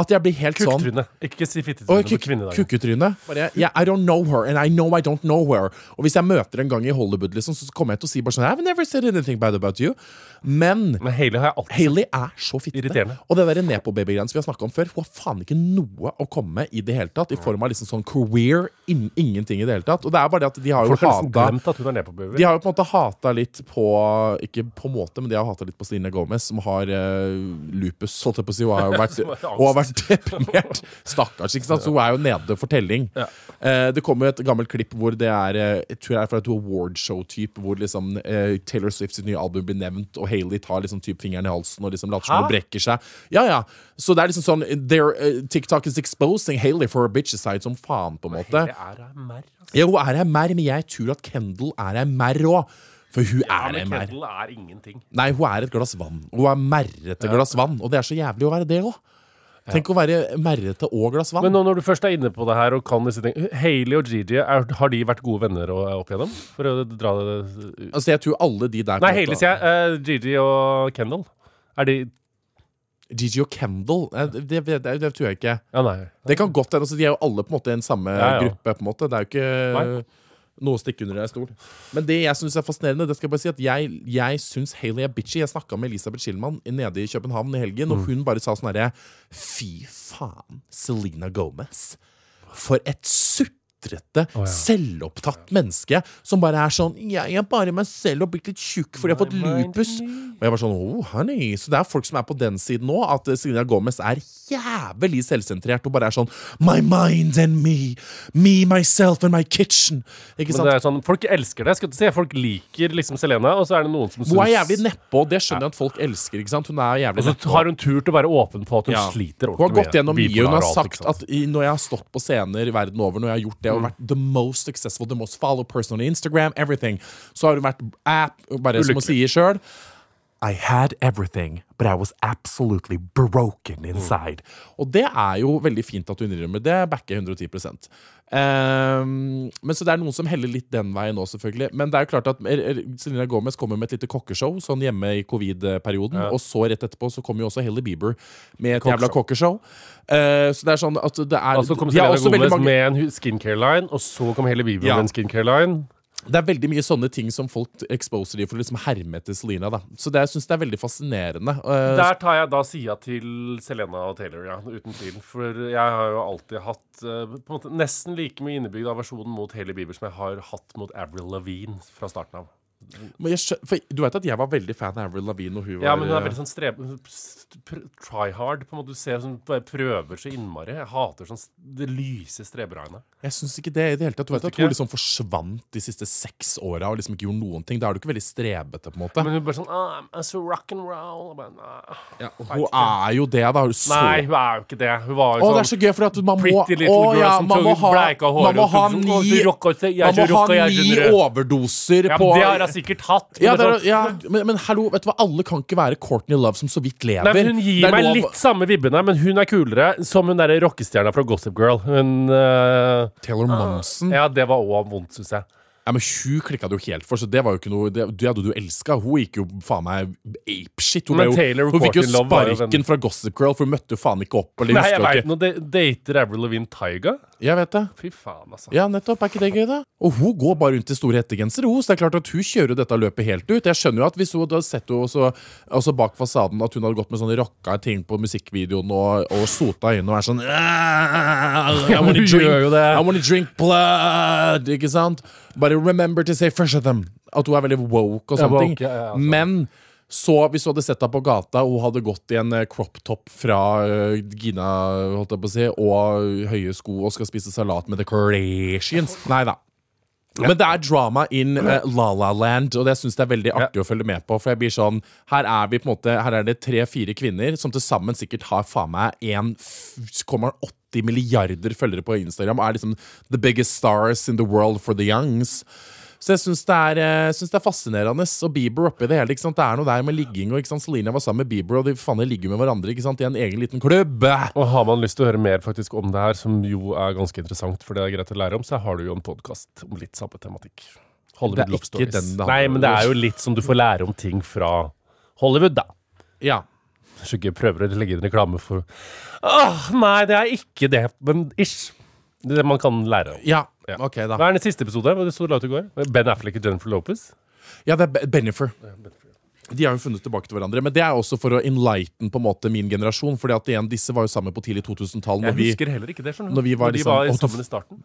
Speaker 3: At jeg blir helt sånn
Speaker 2: Kukktryne. Ikke si
Speaker 3: Oi,
Speaker 2: fittetryne på
Speaker 3: kuk-
Speaker 2: kvinnedagen.
Speaker 3: Kukketryne. Bare, yeah, I don't know her, and I know I don't know her. Og hvis jeg møter en gang i Hollywood, liksom, så kommer jeg til å si bare sånn I've never said anything bad about you. Men
Speaker 2: Men Hailey har jeg alltid
Speaker 3: Hailey er så fittete.
Speaker 2: Irriterende.
Speaker 3: Og det der nepo-babygreiene som vi har snakket om før, hun har faen ikke noe å komme med i det hele tatt. I form av liksom sånn career, in ingenting i det hele tatt. Og det er bare det at de har jo
Speaker 2: Folk har nesten
Speaker 3: hata
Speaker 2: glemt at hun er nepobaby.
Speaker 3: de har jo på en måte hata litt på Ikke på en måte, men de har hata litt på Stine Gomez, som har eh, lupus, holdt jeg på å si. Hun har jo
Speaker 2: [laughs]
Speaker 3: vært,
Speaker 2: har angst.
Speaker 3: og har vært deprimert. Stakkars. ikke sant? Så hun er jo nede for telling. Eh, det kommer jo et gammelt klipp hvor det er eh, Jeg tror det er fra et awardshow-type, hvor liksom eh, Taylor Swift sitt nye album blir nevnt, og Hailey tar liksom typ fingeren i halsen og liksom later som hun
Speaker 2: Hæ?
Speaker 3: brekker seg. Ja, ja. Så det er liksom sånn they're, eh, TikTok is exposing Hailey for a bitch side som faen, på en måte.
Speaker 2: Hailey er ei merr. altså.
Speaker 3: Ja, hun er ei merr, men jeg tror at Kendal er ei merr òg. For hun
Speaker 2: Ja,
Speaker 3: er ei
Speaker 2: men
Speaker 3: merr.
Speaker 2: Kendall er ingenting.
Speaker 3: Nei, hun er et glass vann. Hun er merrete glass vann, og det er så jævlig å være det òg. Tenk å være merrete og glass vann.
Speaker 2: Men nå når du først er inne på det her og kan disse ting Hailey og Gigi, er, har de vært gode venner og, opp igjennom? For å dra det
Speaker 3: altså, jeg tror alle de der på
Speaker 2: Nei,
Speaker 3: en
Speaker 2: Hailey
Speaker 3: måte-
Speaker 2: sier jeg. Eh, Gigi og Kendall. Er de
Speaker 3: Gigi og Kendal, eh, det, det, det, det tror jeg ikke.
Speaker 2: Ja, nei.
Speaker 3: Det kan godt hende. Altså, de er jo alle på en måte i en samme
Speaker 2: Ja, ja.
Speaker 3: gruppe. på en måte Det er jo ikke
Speaker 2: Nei.
Speaker 3: noe å stikke under en stol. Men det jeg syns er fascinerende, Det skal jeg bare si at jeg, jeg syns Hailey er bitchy. Jeg snakka med Elisabeth Schillmann i- nede i København i helgen,
Speaker 2: Mm.
Speaker 3: og hun bare sa sånn herre Fy faen, Selena Gomez. For et sutrete, selvopptatt menneske som bare er sånn Jeg er bare meg selv og blitt litt tjukk fordi jeg har fått
Speaker 2: mind
Speaker 3: lupus. Og jeg var sånn oh, honey. Så det er folk som er på den siden nå, at eh, Selena Gomez er jævlig selvsentrert og bare er sånn My mind and me. Me, myself and my kitchen. Ikke
Speaker 2: Men
Speaker 3: sant?
Speaker 2: det er sånn, folk elsker det. skal du si Folk liker liksom Selena, og så er Altså, det noen som syns
Speaker 3: Hun er jævlig nedpå, og det skjønner jeg at folk elsker. ikke sant? Hun er jævlig
Speaker 2: Og så
Speaker 3: nedpå.
Speaker 2: har hun tur til å være åpen på at hun
Speaker 3: Ja.
Speaker 2: sliter
Speaker 3: Hun har gått gjennom mye. Hun
Speaker 2: bipolar
Speaker 3: har
Speaker 2: og alt, ikke
Speaker 3: sagt
Speaker 2: sant? Mm.
Speaker 3: at i- når jeg har stått på scener verden over, når jeg har gjort det og vært the most successful, the most followed person on Instagram, everything, så har hun vært app, bare som hun
Speaker 2: Ulykkelig.
Speaker 3: sier sjøl. I had everything, but I was absolutely broken
Speaker 2: Mm.
Speaker 3: inside. Og det er jo veldig fint at hun innrømmer. Det backer jeg 110 Ehm, Men Så det er noen som heller litt den veien nå, selvfølgelig. Men det er jo klart at er- er- Selena Gomez kommer med et lite kokkeshow sånn hjemme i covid-perioden. Og så rett etterpå så kommer jo også Hailey Bieber med et jævla kokkeshow. Eh, så det er sånn at det er
Speaker 2: Altså kom
Speaker 3: de
Speaker 2: Selena
Speaker 3: har også
Speaker 2: Gomez
Speaker 3: veldig mange-
Speaker 2: med en hu- skincare-line, og så kom hele Bieber
Speaker 3: Ja.
Speaker 2: med en skincare-line.
Speaker 3: Det er veldig mye sånne ting som folk exposer de for å liksom herme etter Selena. Da. Så det, jeg syns det er veldig fascinerende. Eh,
Speaker 2: Der tar jeg da sida til Selena og Taylor, ja, uten tvil. For jeg har jo alltid hatt eh, på en måte nesten like mye innebygd aversjonen mot Hailey Bieber som jeg har hatt mot Avril Lavigne fra starten av.
Speaker 3: Men jeg skjø- for du vet at jeg var veldig fan av Avril Lavigne når hun var eh,
Speaker 2: Ja, men hun er veldig sånn streb... Try hard. på en måte Du ser hun bare prøver så innmari. Jeg hater sånn s- det lyse streberøyne.
Speaker 3: Jeg syns ikke det i det hele tatt. Du vet at
Speaker 2: ikke?
Speaker 3: hun liksom forsvant de siste seks åra og liksom ikke gjorde noen ting. Da er du ikke veldig strebete, på en måte.
Speaker 2: Men hun bare sånn ah, I'm so rock and roll. Jeg Bare, nah.
Speaker 3: hun er jo det, da. Hun så
Speaker 2: Nei, hun er jo ikke det. Hun var jo
Speaker 3: Å,
Speaker 2: sånn
Speaker 3: det er så gøy, for at man må
Speaker 2: Pretty little
Speaker 3: Å,
Speaker 2: girl
Speaker 3: ja,
Speaker 2: som
Speaker 3: man må
Speaker 2: tok
Speaker 3: ha,
Speaker 2: bleika håret
Speaker 3: man må
Speaker 2: og
Speaker 3: ha
Speaker 2: tok-
Speaker 3: ni,
Speaker 2: og du rocker seg, jeg er
Speaker 3: man må
Speaker 2: så rocker,
Speaker 3: ha
Speaker 2: jeg er
Speaker 3: ni
Speaker 2: så rød.
Speaker 3: overdoser
Speaker 2: ja,
Speaker 3: på
Speaker 2: men Det har hun sikkert hatt. men
Speaker 3: ja,
Speaker 2: det
Speaker 3: det
Speaker 2: er
Speaker 3: er,
Speaker 2: sånn-
Speaker 3: ja, men, men hallo, vet du hva? alle kan ikke være Courtney Love, som så vidt lever.
Speaker 2: Nei, men hun gir
Speaker 3: Det er
Speaker 2: meg
Speaker 3: lov-
Speaker 2: litt samme vibbene, men hun er kulere. Som hun derre rockestjerna fra Gossip Girl. Hun øh,
Speaker 3: Taylor Monson.
Speaker 2: Ja, det var òg vondt, syns jeg.
Speaker 3: Ja, men Hun klikka det jo helt for, så det var jo ikke noe Det, det hadde du elska. Hun gikk jo faen meg apeshit. Hun, ble
Speaker 2: Men Taylor
Speaker 3: jo, hun fikk jo
Speaker 2: Courtin Love var jo
Speaker 3: sparken
Speaker 2: den-
Speaker 3: fra Gossip Girl, for hun møtte jo faen ikke opp. Eller,
Speaker 2: Nei, jeg
Speaker 3: husker
Speaker 2: veit
Speaker 3: ikke.
Speaker 2: nå. de- Dater Avril Lavigne Taiga?
Speaker 3: jeg vet det.
Speaker 2: Fy faen, altså.
Speaker 3: Ja, nettopp. Er ikke det gøy, da? Og hun går bare rundt i store hettegensere, hun. Så det er klart at hun kjører jo dette løpet helt ut. Jeg skjønner jo at hvis hun hadde sett henne også, altså bak fasaden, at hun hadde gått med sånne rocka ting på musikkvideoen og, og sota øynene og er
Speaker 2: [laughs]
Speaker 3: sånn I
Speaker 2: men
Speaker 3: [laughs] wanna
Speaker 2: hun
Speaker 3: drink,
Speaker 2: gjør jo det.
Speaker 3: I wanna drink blood! Ikke sant? Bare remember to say fresh at them. At hun er veldig woke og
Speaker 2: Ja,
Speaker 3: sånne ting.
Speaker 2: woke, ja, ja, altså.
Speaker 3: Men så hvis hun hadde sett henne på gata, og hun hadde gått i en eh, crop top fra eh, Gina holdt jeg på å si, og høye sko og skal spise salat med the Kardashians Nei da. Men det er drama in eh, La La Land, og det syns jeg er veldig artig å følge med på. For jeg blir sånn, Her er vi på en måte, her er det tre-fire kvinner som til sammen sikkert har faen meg 1,80 milliarder følgere på Instagram og er liksom the biggest stars in the world for the youngs. Så jeg syns det, er, eh, synes det er fascinerende. Og Bieber oppi det hele. ikke sant? Det er noe der med ligging. og ikke sant? Selena var sammen med Bieber, og de faen de ligger jo med hverandre ikke sant? i en egen liten klubb.
Speaker 2: Og har man lyst til å høre mer faktisk om det her, som jo er ganske interessant, for det er greit å lære om, så har du jo en podkast om litt samme tematikk. Hollywood
Speaker 3: Det er
Speaker 2: Love
Speaker 3: ikke
Speaker 2: Stories.
Speaker 3: den det handler
Speaker 2: Nei,
Speaker 3: om.
Speaker 2: men det er jo litt som du får lære om ting fra Hollywood, da.
Speaker 3: Ja.
Speaker 2: Så ikke jeg prøver å legge inn reklame for Åh, nei, det er ikke det, men ish. Det er det man kan lære om.
Speaker 3: Ja,
Speaker 2: Ja.
Speaker 3: ok da.
Speaker 2: Hva er den siste episode? Hva sto det ut i går? Ben Affleck og Jennifer Lopez?
Speaker 3: Ja, det er Be- Bennifer. De har jo funnet tilbake til hverandre. Men det er også for å enlighten på en måte min generasjon. Fordi at igjen, disse var jo sammen på tidlig 2000-tall. når
Speaker 2: Jeg
Speaker 3: vi-
Speaker 2: husker heller ikke det. skjønner du.
Speaker 3: når vi var
Speaker 2: de
Speaker 3: liksom-
Speaker 2: var
Speaker 3: Åh, da-
Speaker 2: sammen i starten.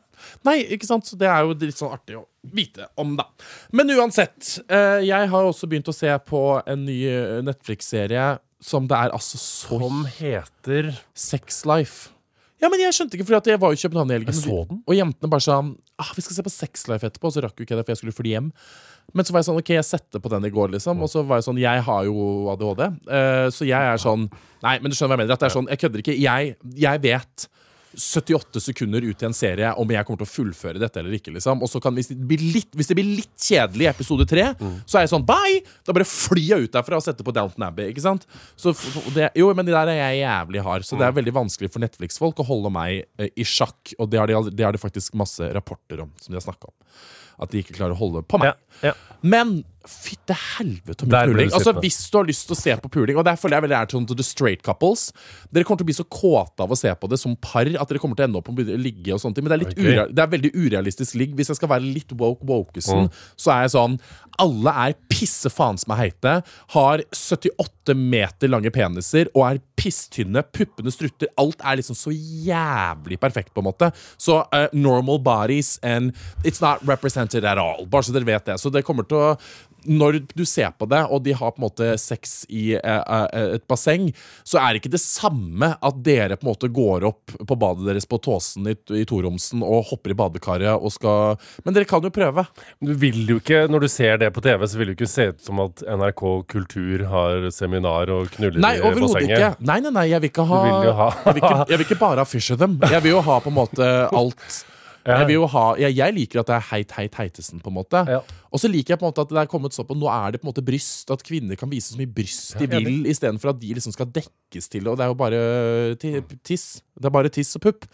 Speaker 3: Nei, ikke sant? Så det er jo litt sånn artig å vite om, da. Men uansett, eh, jeg har jo også begynt å se på en ny eh, Netflix-serie som det er altså så
Speaker 2: Som heter
Speaker 3: Sex Life. Ja, men jeg skjønte ikke, for jeg var jo i København i helgen,
Speaker 2: Jeg så den.
Speaker 3: og jentene bare sa ah, vi skal se på Sex Life etterpå, og så rakk jo ikke jeg det, for jeg skulle fly hjem. Men så var jeg sånn, ok, jeg setter på den i går, liksom. Og så var jeg sånn, jeg har jo ADHD, eh, så jeg er sånn Nei, men du skjønner hva jeg mener. At det er sånn, jeg kødder ikke. Jeg, jeg vet 78 sekunder ut i en serie om jeg kommer til å fullføre dette eller ikke. liksom Og så kan, Hvis det blir litt, hvis det blir litt kjedelig i episode tre, så er jeg sånn bye! Da bare flyr jeg ut derfra og setter på Downton Abbey. ikke sant? Så, f- og det, jo, men de der er jeg jævlig hard, så det
Speaker 2: Mm.
Speaker 3: er veldig vanskelig for Netflix-folk å holde meg eh, i sjakk. Og det har de, all- det har de faktisk masse rapporter om, som de har snakka om. At de ikke klarer å holde på meg.
Speaker 2: Ja, ja.
Speaker 3: Men fytte helvete om
Speaker 2: Der ble
Speaker 3: puling.
Speaker 2: du
Speaker 3: Altså,
Speaker 2: sittende.
Speaker 3: hvis du har lyst til å se på puling, og der føler jeg veldig er sånn til the straight couples Dere kommer til å bli så kåte av å se på det som par at dere kommer til å ende opp med å begynne å ligge og sånne ting. Men det er, litt
Speaker 2: Ok.
Speaker 3: urea- det er veldig urealistisk ligg. Hvis jeg skal være litt woke wokesen, så er jeg sånn Alle er pisse faen som er heite, har 78 meter lange peniser og er pisstynne, puppene strutter. Alt er liksom så jævlig perfekt, på en måte. Så eh, normal bodies and it's not represented at all. Bare så dere vet det. Så det kommer til å når du ser på det, og de har på en måte sex i eh, eh, et basseng, så er det ikke det samme at dere på en måte går opp på badet deres på Tåsen i, i Toromsen og hopper i badekaret og skal Men dere kan jo prøve.
Speaker 2: Du vil jo ikke, Når du ser det på TV, så vil det jo ikke se ut som at NRK Kultur har seminar og knuller
Speaker 3: Nei,
Speaker 2: i
Speaker 3: overhodet
Speaker 2: bassenget.
Speaker 3: ikke. Nei, nei, nei, jeg vil ikke ha,
Speaker 2: Du vil jo ha-
Speaker 3: jeg, vil ikke, jeg vil ikke bare ha fish of them. Jeg vil jo ha på en måte
Speaker 2: [laughs]
Speaker 3: alt. Jeg, vil jo ha, jeg, jeg liker at det er heit, heit, heitesen, på en måte.
Speaker 2: Ja.
Speaker 3: Og så liker jeg på en måte at det er kommet sånn på Nå er det på en måte bryst, at kvinner kan vise så mye bryst de vil, istedenfor at de liksom skal dekkes til, og det er jo bare ti- tiss. Det er bare tiss og pupp.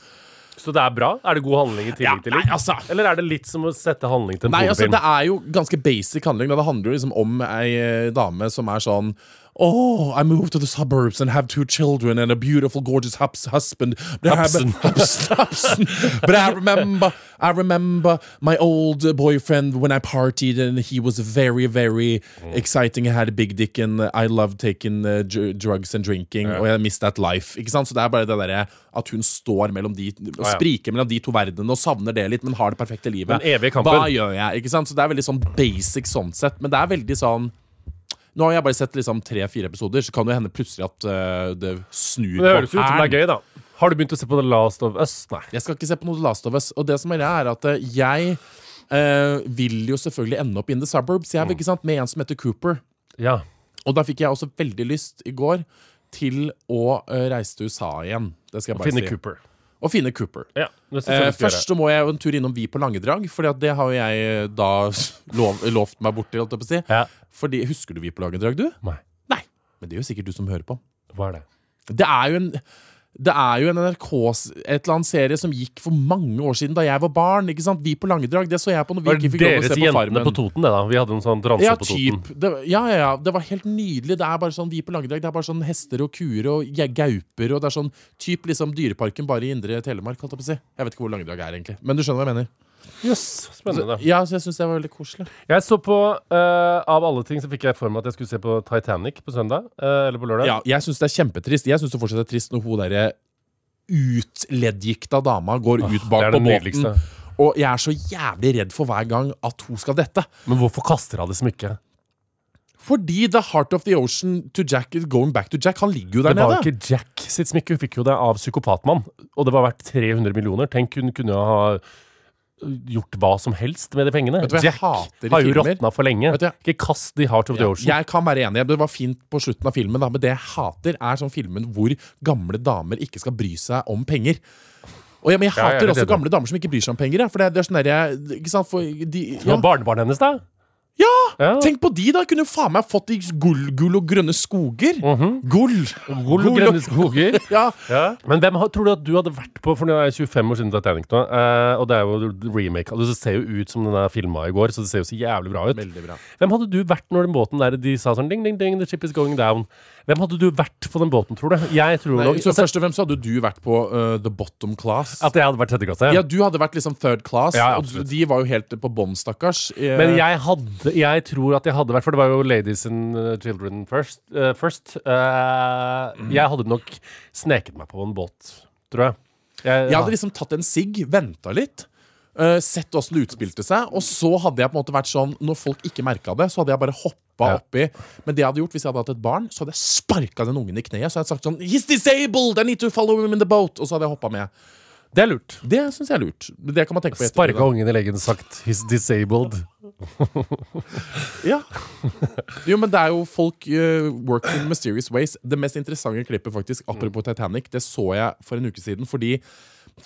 Speaker 2: Så det er bra? Er det god handling i tillegg
Speaker 3: Ja,
Speaker 2: til ligg?
Speaker 3: nei, altså.
Speaker 2: Eller er det litt som å sette handling til en
Speaker 3: Nei, altså,
Speaker 2: pornofilm?
Speaker 3: det er jo ganske basic handling. Da. Det handler jo liksom om ei eh, dame som er sånn Oh, I moved to the suburbs and have two children and a beautiful, gorgeous hubs husband. But I-
Speaker 2: Hubsen.
Speaker 3: Hubsen, [laughs] hubsen. But I remember, I remember my old boyfriend when I partied and he was very, very exciting. I had a big dick and I loved taking uh, dr drugs and drinking. Og jeg missed that life. Ikke sant? Så det er bare det derre at hun står mellom de, og
Speaker 2: ja.
Speaker 3: spriker mellom de to verdenene og savner det litt, men har det perfekte livet.
Speaker 2: Den evige kampen.
Speaker 3: Hva gjør jeg? Ikke sant? Så det er veldig sånn basic sånn sett. Men det er veldig sånn Nå har jeg bare sett liksom tre-fire episoder, så kan det jo hende plutselig at øh, det snur
Speaker 2: Men det høres jo ut som
Speaker 3: hælen.
Speaker 2: det er gøy, da. Har du begynt å se på The Last of Us? Nei.
Speaker 3: Jeg skal ikke se på noe Last of Us. Og det som er greia, er at eh, jeg eh, vil jo selvfølgelig ende opp in the suburbs.
Speaker 2: Mm.
Speaker 3: Jeg vil ikke sant, med en som heter Cooper.
Speaker 2: Ja.
Speaker 3: Og da fikk jeg også veldig lyst i går til å eh, reise til USA igjen. Det skal jeg bare
Speaker 2: Finne
Speaker 3: si.
Speaker 2: Cooper.
Speaker 3: Og finne Cooper.
Speaker 2: Ja, det synes jeg
Speaker 3: Eh,
Speaker 2: vi skal
Speaker 3: først så må jeg jo en tur innom Vi på Langedrag, for det har jo jeg eh, da [laughs] lov, lovt meg bort til. holdt jeg på å si.
Speaker 2: gjøre. Ja.
Speaker 3: Fordi, Husker du Vi på Langedrag, du?
Speaker 2: Nei.
Speaker 3: Nei. Men det gjør sikkert du som hører på.
Speaker 2: Hva er det?
Speaker 3: Det er jo en Det er jo en NRK s- et eller annet serie som gikk for mange år siden, da jeg var barn. ikke sant? Vi på Langedrag, det så jeg på når vi
Speaker 2: Var
Speaker 3: ikke
Speaker 2: det
Speaker 3: fikk lov
Speaker 2: deres
Speaker 3: til å se på
Speaker 2: jentene
Speaker 3: Farmen.
Speaker 2: på Toten, det da? Vi hadde en sånn transe
Speaker 3: ja,
Speaker 2: på Toten.
Speaker 3: typ. Det, ja, ja, ja. Det var helt nydelig. Det er bare sånn vi på Langedrag. Det er bare sånn hester og kuer og ja- gauper og det er sånn typ liksom Dyreparken bare i indre Telemark, holdt jeg på å si. Jeg vet ikke hvor Langedrag er, egentlig. Men du skjønner hva jeg mener.
Speaker 2: Jøss, spennende.
Speaker 3: Ja, så jeg syns det var veldig koselig.
Speaker 2: Jeg så på, eh, av alle ting, så fikk jeg for meg at jeg skulle se på Titanic på søndag. eh, eller på lørdag.
Speaker 3: Ja, jeg syns det er kjempetrist. Jeg syns det fortsatt er trist når hun derre utleddgikta dama går ut
Speaker 2: det
Speaker 3: bak
Speaker 2: er
Speaker 3: på
Speaker 2: det
Speaker 3: båten.
Speaker 2: nydeligste.
Speaker 3: Og jeg er så jævlig redd for hver gang at hun skal dette.
Speaker 2: Men hvorfor kaster hun det smykket?
Speaker 3: Fordi The Heart of the Ocean to Jack is going back to Jack. Han ligger jo der
Speaker 2: Det var jo
Speaker 3: nede.
Speaker 2: ikke Jack sitt smykke, hun fikk jo det av psykopatmann. Og det var verdt 300 millioner. Tenk, hun kunne ha eh, gjort hva som helst med de pengene.
Speaker 3: Vet du hva jeg
Speaker 2: Jack
Speaker 3: hater i
Speaker 2: har jo
Speaker 3: filmer?
Speaker 2: råtna for lenge.
Speaker 3: Vet du,
Speaker 2: Ikke kast The Heart of the Ocean.
Speaker 3: Jeg kan være enig, det var fint på slutten av filmen, da, men det jeg hater, er sånn filmen hvor gamle damer ikke skal bry seg om penger. Og ja, men Jeg
Speaker 2: Ja, jeg er
Speaker 3: hater
Speaker 2: litt
Speaker 3: også
Speaker 2: enig.
Speaker 3: gamle damer som ikke bryr seg om penger. Ja, for det, det er sånn der, jeg- ikke sant, for de,
Speaker 2: Det
Speaker 3: ja.
Speaker 2: var barnebarnet hennes, da?
Speaker 3: ja,
Speaker 2: Ja.
Speaker 3: Tenk på de, da! Kunne jo faen meg fått i gull, gull og grønne skoger. Gull!
Speaker 2: Mhm. Gull og grønne skoger.
Speaker 3: [laughs] Ja,
Speaker 2: Men hvem har- tror du at du hadde vært på For nå er jeg 25 år siden Titanic nå, eh, og det er jo remake. Og det ser jo ut som den er filma i går, så det ser jo så jævlig bra ut.
Speaker 3: Veldig bra.
Speaker 2: Hvem hadde du vært når den båten der de sa sånn ding, ding, ding, the ship is going down? Hvem hadde du vært på den båten, tror du? Jeg tror
Speaker 3: Nei,
Speaker 2: nok
Speaker 3: så
Speaker 2: altså,
Speaker 3: først og fremst så hadde du vært på eh, the bottom class.
Speaker 2: at jeg hadde vært tredje klasse.
Speaker 3: ja, du hadde vært liksom third class,
Speaker 2: Ja,
Speaker 3: og
Speaker 2: absolutt.
Speaker 3: de var jo helt på bånn, stakkars. Eh,
Speaker 2: Men jeg hadde Jeg tror at jeg hadde vært For det var jo Ladies and uh, Children first. eh, first. Eh, Jeg hadde nok sneket meg på en båt, tror jeg. Jeg,
Speaker 3: Jeg hadde liksom tatt en sigg, venta litt. eh, sett åssen det utspilte seg. Og så hadde jeg på en måte vært sånn Når folk ikke merka det, så hadde jeg bare hoppa
Speaker 2: Ja.
Speaker 3: oppi. Men det jeg hadde gjort hvis jeg hadde hatt et barn, så hadde jeg sparka den ungen i kneet. Så hadde jeg sagt sånn He's disabled! I need to follow him in the boat! Og så hadde jeg hoppa med.
Speaker 2: det er lurt.
Speaker 3: Det syns jeg er lurt. Det kan man tenke på i ettertid,
Speaker 2: Sparka
Speaker 3: da.
Speaker 2: ungen i leggen og sagt 'he's disabled'.
Speaker 3: Ja. [laughs] Jo, men det er jo folk eh, work in mysterious ways. Det mest interessante klippet, faktisk, apropos Titanic, det så jeg for en uke siden. Fordi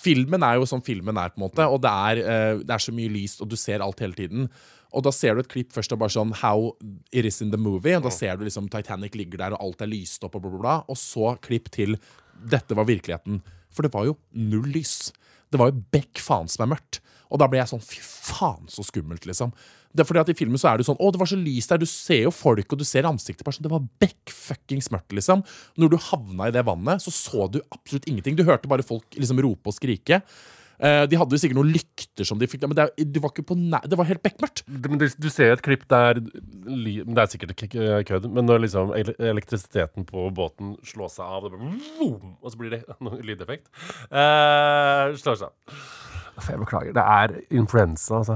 Speaker 3: filmen er jo som filmen er, på en måte. Og det er, eh, det er så mye lyst, og du ser alt hele tiden. Og da ser du et klipp først av bare sånn How it is in the movie. Og da ser du liksom Titanic ligger der, og alt er lyst opp, og bla, bla, bla. Og så klipp til Dette var virkeligheten. For det var jo null lys. Det var jo bekk faen som er mørkt. Og da ble jeg sånn fy faen så skummelt, liksom. Det er fordi at I filmen så er det sånn å det var så lyst der, du ser jo folk og du ser ansiktet på sånn, Det var bekk fuckings mørkt, liksom. Når du havna i det vannet, så så du absolutt ingenting. Du hørte bare folk liksom rope og skrike. Eh, de hadde jo sikkert noen lykter som de fikk Men det, er- du var ikke på nær, det var helt bekmørkt.
Speaker 2: Men du, du ser jo et klipp der ly- men Det er sikkert k- k- kødd, men når liksom ele- elektrisiteten på båten slår seg av, det bare, vroom, og så blir det [laughs] noen lydeffekt eh, Slår seg av. Uff, Altså, Jeg beklager. Det er influensa, altså.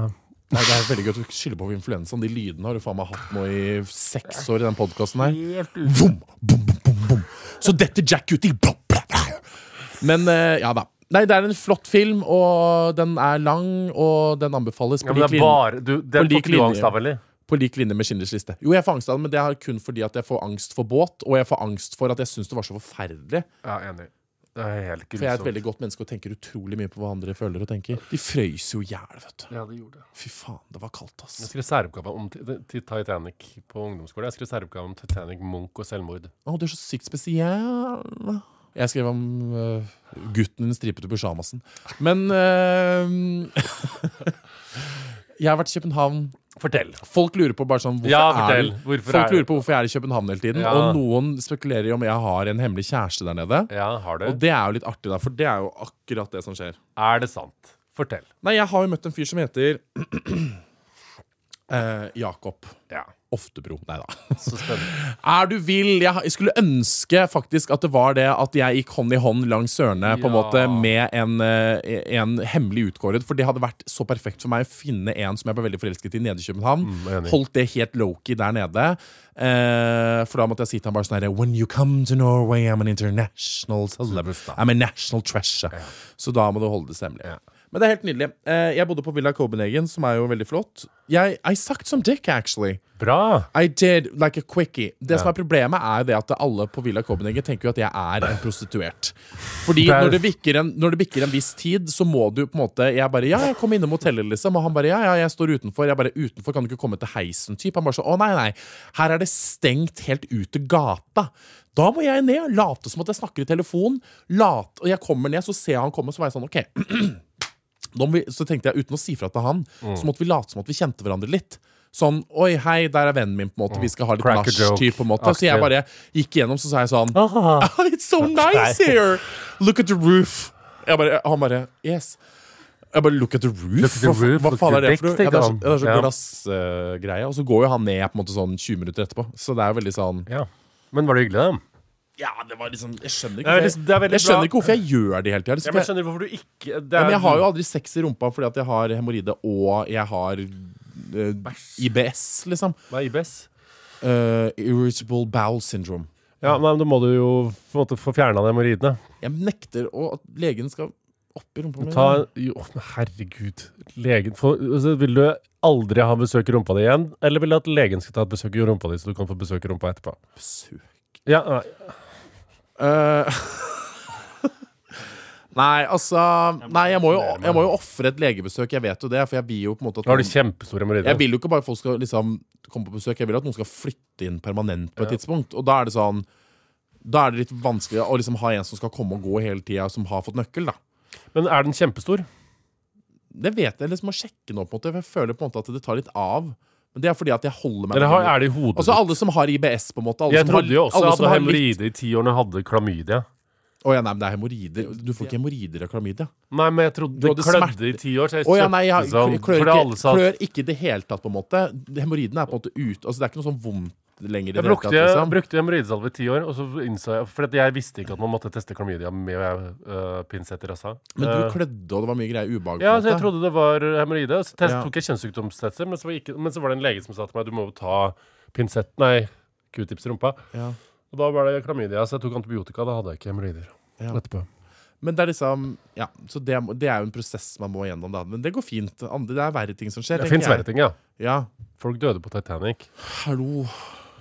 Speaker 3: Nei, det er veldig gøy at du skylder på influensaen. De lydene har du faen meg hatt nå i seks år i den podkasten her. Vom, bom, bom, bom, bom. Så detter Jack uti bla, bla, bla. Men eh, ja da. Nei, det er en flott film, og den er lang, og den anbefales
Speaker 2: Ja,
Speaker 3: på,
Speaker 2: men det er
Speaker 3: lik, linje,
Speaker 2: bare du, det
Speaker 3: på
Speaker 2: er
Speaker 3: lik
Speaker 2: Fikk du
Speaker 3: linje.
Speaker 2: angst av, eller?
Speaker 3: på lik linje med Schindlers liste. Jo, jeg får angst av det, men det er kun fordi at jeg får angst for båt, og jeg får angst for at jeg syns det var så forferdelig.
Speaker 2: Ja, enig. Det er helt
Speaker 3: For jeg er et
Speaker 2: grusomt.
Speaker 3: veldig godt menneske og tenker utrolig mye på hva andre føler og tenker. De frøys jo i hjel, vet du.
Speaker 2: Ja, det gjorde det.
Speaker 3: Fy faen, det var kaldt, ass.
Speaker 2: Jeg skrev særoppgave om ti- til Titanic på ungdomsskolen. Jeg skrev særoppgave om Titanic, Munch og selvmord.
Speaker 3: Å, du er så sykt spesiell. Jeg skrev om øh, gutten i den stripete pysjamasen. Men øh, [laughs] Jeg har vært i København.
Speaker 2: Fortell.
Speaker 3: Folk lurer på bare sånn hvorfor
Speaker 2: Ja,
Speaker 3: er
Speaker 2: fortell.
Speaker 3: du-
Speaker 2: Hvorfor
Speaker 3: Folk
Speaker 2: er
Speaker 3: lurer på hvorfor jeg er i København hele tiden.
Speaker 2: Ja.
Speaker 3: Og noen spekulerer i om jeg har en hemmelig kjæreste der nede.
Speaker 2: Ja, har du?
Speaker 3: Og det er jo litt artig, da, for det er jo akkurat det som skjer.
Speaker 2: Er det sant? Fortell.
Speaker 3: Nei, jeg har jo møtt en fyr som heter [clears throat] eh, Jakob
Speaker 2: Ja.
Speaker 3: Oftebro. Nei da.
Speaker 2: Så spennende.
Speaker 3: Er du vill? Jeg jeg skulle ønske faktisk at det var det at jeg gikk hånd i hånd langs Sørene på
Speaker 2: Ja.
Speaker 3: en måte med en, eh, en hemmelig utkåret. For det hadde vært så perfekt for meg å finne en som jeg ble veldig forelsket i nede i København.
Speaker 2: Mm, enig.
Speaker 3: Holdt det helt low-key der nede. Eh, for da måtte jeg si til han bare sånn herre When you come to Norway, I'm an international celebrity. I'm a national treasure. Så da må du holde det hemmelig. Men det er helt nydelig. Eh, jeg bodde på Villa Copenhagen, som er jo veldig flott. Jeg, I sucked some dick, actually.
Speaker 2: Bra!
Speaker 3: I did, like a quickie. Det som er problemet, er det at alle på Villa Copenhagen tenker jo at jeg er en prostituert. Fordi
Speaker 2: Der.
Speaker 3: når det, bikker en, når det bikker en viss tid, så må du på en måte Jeg bare Ja, jeg kom innom hotellet, liksom. Og han bare Ja, ja, jeg står utenfor. Jeg bare Utenfor kan du ikke komme til heisen, type. Han bare sånn Å, nei, nei. Her er det stengt helt ut til gata. Da må jeg ned, late som at jeg snakker i telefon. Late, og jeg kommer ned, så ser jeg han komme, så var jeg sånn OK. Nå må vi, så tenkte jeg, uten å si fra til han,
Speaker 2: Mm.
Speaker 3: så måtte vi late som at vi kjente hverandre litt. Sånn 'Oi, hei, der er vennen min', på en måte. Vi skal ha litt
Speaker 2: Mm. Crack a
Speaker 3: nach. typ, på en måte. Så jeg
Speaker 2: joke-aktig.
Speaker 3: bare gikk igjennom, så sa jeg sånn [laughs]
Speaker 2: Ah.
Speaker 3: Oh, It's so nice here! Look at the roof! Jeg bare, han bare Yes. Jeg bare, Look at the roof?
Speaker 2: Look at the
Speaker 3: Hva-
Speaker 2: roof,
Speaker 3: Hva
Speaker 2: look
Speaker 3: faen
Speaker 2: at
Speaker 3: er
Speaker 2: your
Speaker 3: det for noe?
Speaker 2: dick,
Speaker 3: Ja, det
Speaker 2: tenker
Speaker 3: er så,
Speaker 2: han.
Speaker 3: ja, det er så
Speaker 2: Ja.
Speaker 3: glassgreie. og så går jo han ned på en måte sånn 20 minutter etterpå. Så det er jo veldig sånn
Speaker 2: Ja. Men var det hyggelig, da?
Speaker 3: Ja, det var liksom Jeg skjønner ikke
Speaker 2: Ja,
Speaker 3: hvorfor
Speaker 2: det er- det er
Speaker 3: jeg,
Speaker 2: veldig
Speaker 3: jeg, skjønner
Speaker 2: bra.
Speaker 3: ikke hvorfor jeg gjør det hele tida.
Speaker 2: Ja,
Speaker 3: Liksom.
Speaker 2: men
Speaker 3: Jeg-
Speaker 2: jeg skjønner hvorfor du ikke det
Speaker 3: Ja,
Speaker 2: er-
Speaker 3: men jeg har jo aldri sex i rumpa fordi at jeg har hemoroide og jeg har eh, IBS, liksom.
Speaker 2: Hva er IBS?
Speaker 3: Eh, irritable bowel syndrome.
Speaker 2: Ja, nei, men Da må du jo på en måte få fjerna hemoroidene.
Speaker 3: Jeg nekter å, at legen skal opp i rumpa mi.
Speaker 2: Ta jo, men Herregud. Legen få- altså, Vil du aldri ha besøk i rumpa di igjen? Eller vil du at legen skal ta et besøk i rumpa di, så du kan få besøk i rumpa etterpå?
Speaker 3: Besøk.
Speaker 2: Ja, nei.
Speaker 3: Eh, [laughs] Nei, altså Nei, jeg må jo, jeg må jo ofre et legebesøk. Jeg vet jo det, for jeg vil jo på en måte at
Speaker 2: Har du
Speaker 3: noen-
Speaker 2: kjempestor hemoroide?
Speaker 3: Jeg vil jo ikke bare folk skal liksom komme på besøk. Jeg vil at noen skal flytte inn permanent på et tidspunkt. Og da er det sånn Da er det litt vanskelig å liksom ha en som skal komme og gå hele tida, som har fått nøkkel, da.
Speaker 2: Men er den kjempestor?
Speaker 3: Det vet jeg liksom må sjekke nå, på en måte. For jeg føler på en måte at det tar litt av. Men det er fordi at jeg holder meg
Speaker 2: Eller har, er det i hodet?
Speaker 3: Altså alle som har IBS, på en måte. Alle
Speaker 2: jeg
Speaker 3: som har-
Speaker 2: trodde jo også
Speaker 3: alle
Speaker 2: jeg
Speaker 3: som
Speaker 2: hadde
Speaker 3: har litt-
Speaker 2: hemoroide i ti år når jeg hadde klamydia.
Speaker 3: Å ja, nei, men det er hemoroider. Du får ikke hemoroider av klamydia.
Speaker 2: Nei, men jeg trodde det
Speaker 3: hadde
Speaker 2: klødde
Speaker 3: smerte.
Speaker 2: i ti år, så jeg
Speaker 3: Å
Speaker 2: kjøpte
Speaker 3: ja, nei, jeg har-
Speaker 2: sånn.
Speaker 3: klør,
Speaker 2: fordi alle
Speaker 3: ikke,
Speaker 2: sa at
Speaker 3: klør ikke i det hele tatt, på en måte. Hemoroidene er på en måte ute. Altså, det er ikke noe sånn vondt lenger. i det
Speaker 2: Jeg
Speaker 3: hele
Speaker 2: brukte,
Speaker 3: tatt, liksom.
Speaker 2: brukte hemoroidesalve i ti år, og så innså jeg For at jeg visste ikke at man måtte teste klamydia med øh, pinsett i rassa.
Speaker 3: Men du
Speaker 2: Eh,
Speaker 3: klødde, og det var mye greier ubehag. på
Speaker 2: ja,
Speaker 3: en
Speaker 2: så jeg
Speaker 3: måte.
Speaker 2: trodde det var øh, hemoroide. og Så test,
Speaker 3: Ja.
Speaker 2: tok jeg kjønnssykdomstester, men så, var ikke, men så var det en lege som sa til meg du må jo ta pinsett Nei, q-tips i rumpa.
Speaker 3: Ja.
Speaker 2: Og da var det klamydia, så jeg tok antibiotika. Da hadde jeg ikke hemoroider
Speaker 3: Ja.
Speaker 2: etterpå.
Speaker 3: Men det er liksom Ja, så det, må- det er jo en prosess man må gjennom, da. Men det går fint. Andre, det er verre ting som skjer.
Speaker 2: Det
Speaker 3: tenker
Speaker 2: fins verre
Speaker 3: jeg.
Speaker 2: ting, ja.
Speaker 3: Ja.
Speaker 2: Folk døde på Titanic.
Speaker 3: Hallo.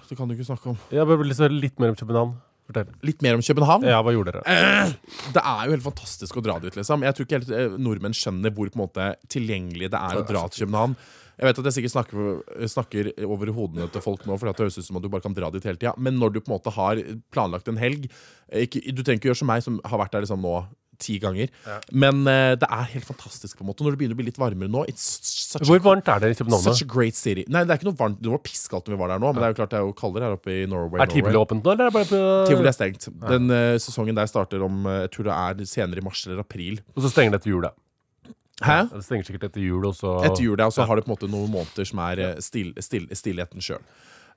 Speaker 3: Det kan du ikke snakke om.
Speaker 2: Jeg bare vil høre litt mer om København. Fortell.
Speaker 3: Litt mer om København.
Speaker 2: Ja, hva gjorde
Speaker 3: Eh,
Speaker 2: dere?
Speaker 3: Det er jo helt fantastisk å dra dit, liksom. Jeg tror ikke helt eh, nordmenn skjønner hvor på en måte tilgjengelig det er å dra til København. Jeg vet at jeg sikkert snakker, eh, snakker over hodene til folk nå, for det høres ut som at du bare kan dra dit hele tida. Men når du på en måte har planlagt en helg eh, ikke, Du trenger ikke gjøre som meg, som har vært der liksom nå ti ganger. Men eh, det er helt fantastisk, på en måte. Når det begynner å bli litt varmere nå It's such a
Speaker 2: Hvor varmt er det i København?
Speaker 3: Such a great city. Nei, det er ikke noe varmt. Det var pisskaldt når vi var der nå, men det er jo klart det er jo kaldere her oppe i Norway.
Speaker 2: da? Er tivoli
Speaker 3: Norway.
Speaker 2: åpent nå, eller er det bare på
Speaker 3: Tivoli er stengt. Den eh, sesongen der starter om eh, jeg tror det er senere i mars eller april.
Speaker 2: Og så stenger det etter jul, da.
Speaker 3: Hæ?
Speaker 2: Det stenger sikkert etter jul, og så
Speaker 3: Etter jul, ja. Og så har du på en måte noen måneder som er eh, still, still, stillheten sjøl.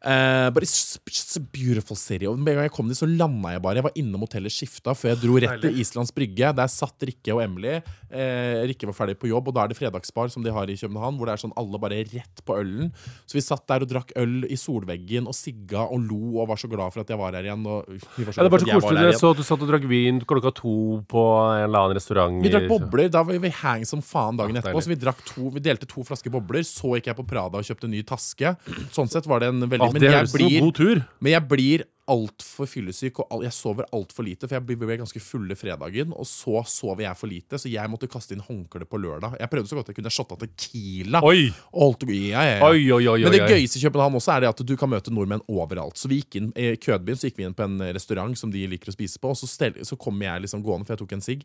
Speaker 3: Eh, but it's just a beautiful city. Og Med en gang jeg kom dit, så landa jeg bare. Jeg var innom hotellet, skifta, før jeg dro rett til Islands Brygge. Der satt Rikke og Emily. Eh, Rikke var ferdig på jobb, og da er det fredagsbar som de har i København, hvor det er sånn alle bare rett på ølen. Så vi satt der og drakk øl i solveggen og sigga og lo og var så glad for at jeg var her igjen. Og vi
Speaker 2: Ja,
Speaker 3: var så
Speaker 2: det var
Speaker 3: glad for
Speaker 2: så
Speaker 3: at jeg
Speaker 2: koselig.
Speaker 3: var
Speaker 2: Jeg
Speaker 3: her igjen.
Speaker 2: så at du satt og drakk vin klokka to på en eller annen restaurant.
Speaker 3: Vi drakk
Speaker 2: i-
Speaker 3: bobler. Da var vi hang som faen dagen
Speaker 2: Ja,
Speaker 3: etterpå.
Speaker 2: Ah, deilig.
Speaker 3: Så vi, drakk to, vi delte to flasker bobler. Så gikk jeg på Prada og kjøpte en ny taske. Sånn sett var det en veldig
Speaker 2: Å,
Speaker 3: Men
Speaker 2: Ah, det
Speaker 3: jeg
Speaker 2: høres ut som en
Speaker 3: blir,
Speaker 2: god tur.
Speaker 3: men jeg blir altfor fyllesyk, og al- jeg sover altfor lite. For jeg ble- ble ganske fulle fredagen, og så sover jeg for lite. Så jeg måtte kaste inn håndkle på lørdag. Jeg prøvde så godt jeg kunne shotta tequila.
Speaker 2: Oi!
Speaker 3: Og holdt, ja, ja, ja.
Speaker 2: Oi, oi, oi, oi,
Speaker 3: Men det
Speaker 2: oi.
Speaker 3: gøyeste i København også er det at du kan møte nordmenn overalt. Så vi gikk inn I Kødbyen så gikk vi inn på en restaurant som de liker å spise på, og så, stel, så kommer jeg liksom gående, for jeg tok en sigg.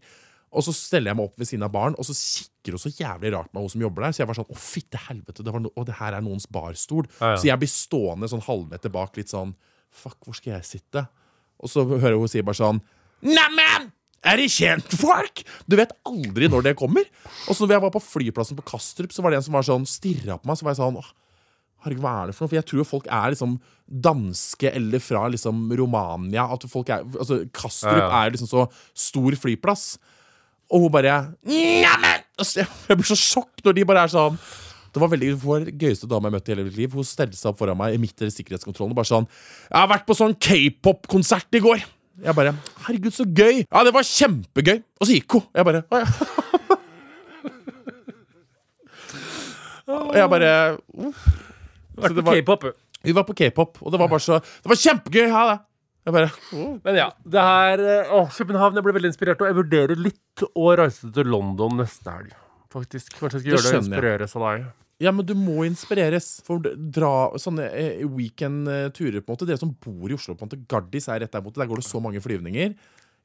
Speaker 3: Og så steller jeg meg opp ved siden av baren, og så kikker hun så jævlig rart på meg, hun som jobber der. Så jeg var sånn Å, fytte helvete, det, var no å, det her er noens barstol.
Speaker 2: Ja, ja.
Speaker 3: Så jeg blir stående sånn halvmeter bak, litt sånn Fuck, hvor skal jeg sitte? Og så hører jeg hun si bare sånn Neimen! Er det kjentfolk? Du vet aldri når det kommer. Og så når jeg var på flyplassen på Kastrup, så var det en som var sånn stirra på meg. Så var jeg sånn Åh, Herregud, hva er det for noe? For jeg tror jo folk er liksom danske eller fra liksom Romania. At folk er, altså Kastrup
Speaker 2: Ja, ja.
Speaker 3: er jo liksom så stor flyplass. Og hun bare Neimen! Altså, jeg- jeg blir så sjokk når de bare er sånn det var veldig, Hun var den gøyeste dama jeg møtte i hele mitt liv. Hun stelte seg opp foran meg i midt i sikkerhetskontrollen og bare sånn 'Jeg har vært på sånn k-pop-konsert i går.' Jeg bare 'Herregud, så gøy.' 'Ja, det var kjempegøy.' Og så gikk hun. Jeg bare «Å, ja. [laughs] Og jeg bare oh. Så
Speaker 2: Vært
Speaker 3: det
Speaker 2: på
Speaker 3: var,
Speaker 2: K-pop.
Speaker 3: vi var på k-pop, og det var bare så Det var kjempegøy! Ha det! Jeg bare oh.
Speaker 2: Men ja, det her eh, Å, København. Jeg ble veldig inspirert, og jeg vurderer litt å reise til London neste helg. Faktisk, Kanskje jeg skal gjøre
Speaker 3: Det
Speaker 2: det og
Speaker 3: skjønner
Speaker 2: inspireres av deg.
Speaker 3: Ja, men du må inspireres. For d- dra sånne eh, weekend-turer, på en måte. Dere som bor i Oslo, på en måte. Gardis er rett der borte. Der går det så mange flyvninger.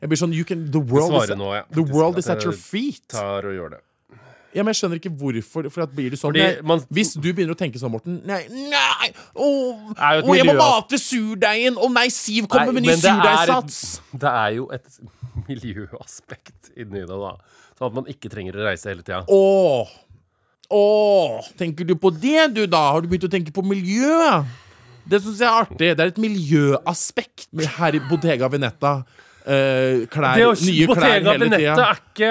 Speaker 3: Jeg blir sånn, you can, the world is,
Speaker 2: svarer nå, ja,
Speaker 3: the
Speaker 2: faktisk,
Speaker 3: world
Speaker 2: at
Speaker 3: is at
Speaker 2: jeg
Speaker 3: your feet.
Speaker 2: Tar og gjør det.
Speaker 3: Ja, men Jeg skjønner ikke hvorfor. For at blir du sånn
Speaker 2: Fordi
Speaker 3: nei,
Speaker 2: man-
Speaker 3: Hvis du begynner å tenke sånn, Morten Nei, nei åh,
Speaker 2: er jo et
Speaker 3: åh, jeg må
Speaker 2: miljø, altså.
Speaker 3: mate surdeigen! Å nei, Siv kommer
Speaker 2: Nei,
Speaker 3: med ny
Speaker 2: men det er et- [laughs]
Speaker 3: surdeigsats!
Speaker 2: Det er jo et miljøaspekt inni det, da. Sånn at man ikke trenger å reise hele tida.
Speaker 3: Åh, åh, tenker du på det du da? Har du begynt å tenke på miljø? Det synes jeg er artig. Det er et miljøaspekt med her i Bottega Veneta. Eh, klær,
Speaker 2: Det å
Speaker 3: nye klær
Speaker 2: Bottega
Speaker 3: hele
Speaker 2: Benetta
Speaker 3: tida.
Speaker 2: er ikke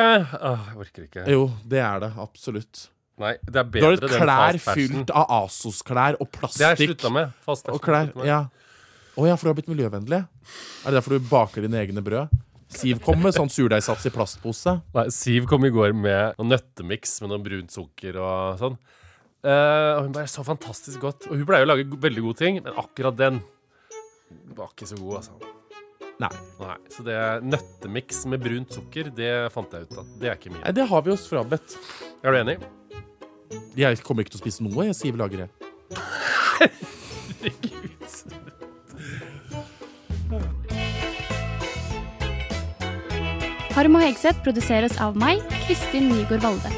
Speaker 2: Åh, Jeg orker ikke.
Speaker 3: Jo, det er det. Absolutt.
Speaker 2: Nei, det er
Speaker 3: Du
Speaker 2: bedre
Speaker 3: har et
Speaker 2: det enn
Speaker 3: klær
Speaker 2: fast fashion.
Speaker 3: fylt av Asos-klær
Speaker 2: Det har
Speaker 3: og
Speaker 2: jeg
Speaker 3: plastikk
Speaker 2: slutta med. Fast fashion.
Speaker 3: og klær.
Speaker 2: sluttet med.
Speaker 3: Ja. Å ja, for du har blitt miljøvennlig? Er det derfor du baker dine egne brød? Siv kom med sånn surdeigsats i plastpose.
Speaker 2: Nei, Siv kom i går med noen nøttemiks med noe brunt sukker og sånn. Eh, og hun bare så fantastisk godt. Og hun pleier å lage go- veldig gode ting, men akkurat den var ikke så god, altså.
Speaker 3: Nei.
Speaker 2: Nei, så det nøttemiks med brunt sukker, det fant jeg ut at det er ikke mye.
Speaker 3: Nei, det har vi oss frabedt.
Speaker 2: Er du enig?
Speaker 3: Jeg kommer ikke til å spise noe. Jeg Siv lager det.
Speaker 4: Harm og Hegseth produseres av meg, Kristin Nygaard Valde.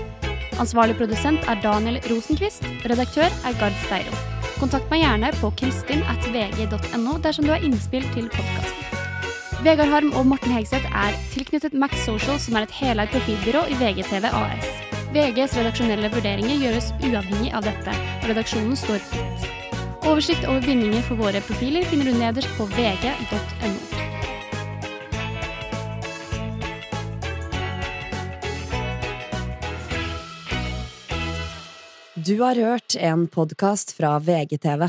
Speaker 4: Ansvarlig produsent er Daniel Rosenquist. Redaktør er Gard Steiro. Kontakt meg gjerne på kristin.vg.no dersom du har innspill til podkasten. Vegard Harm og Morten Hegseth er tilknyttet Max Social, som er et heleid profilbyrå i VGTV AS. VGs redaksjonelle vurderinger gjøres uavhengig av dette, og redaksjonen står fritt. Oversikt over bindinger for våre profiler finner du nederst på vg.no.
Speaker 1: Du har hørt en podkast fra VGTV.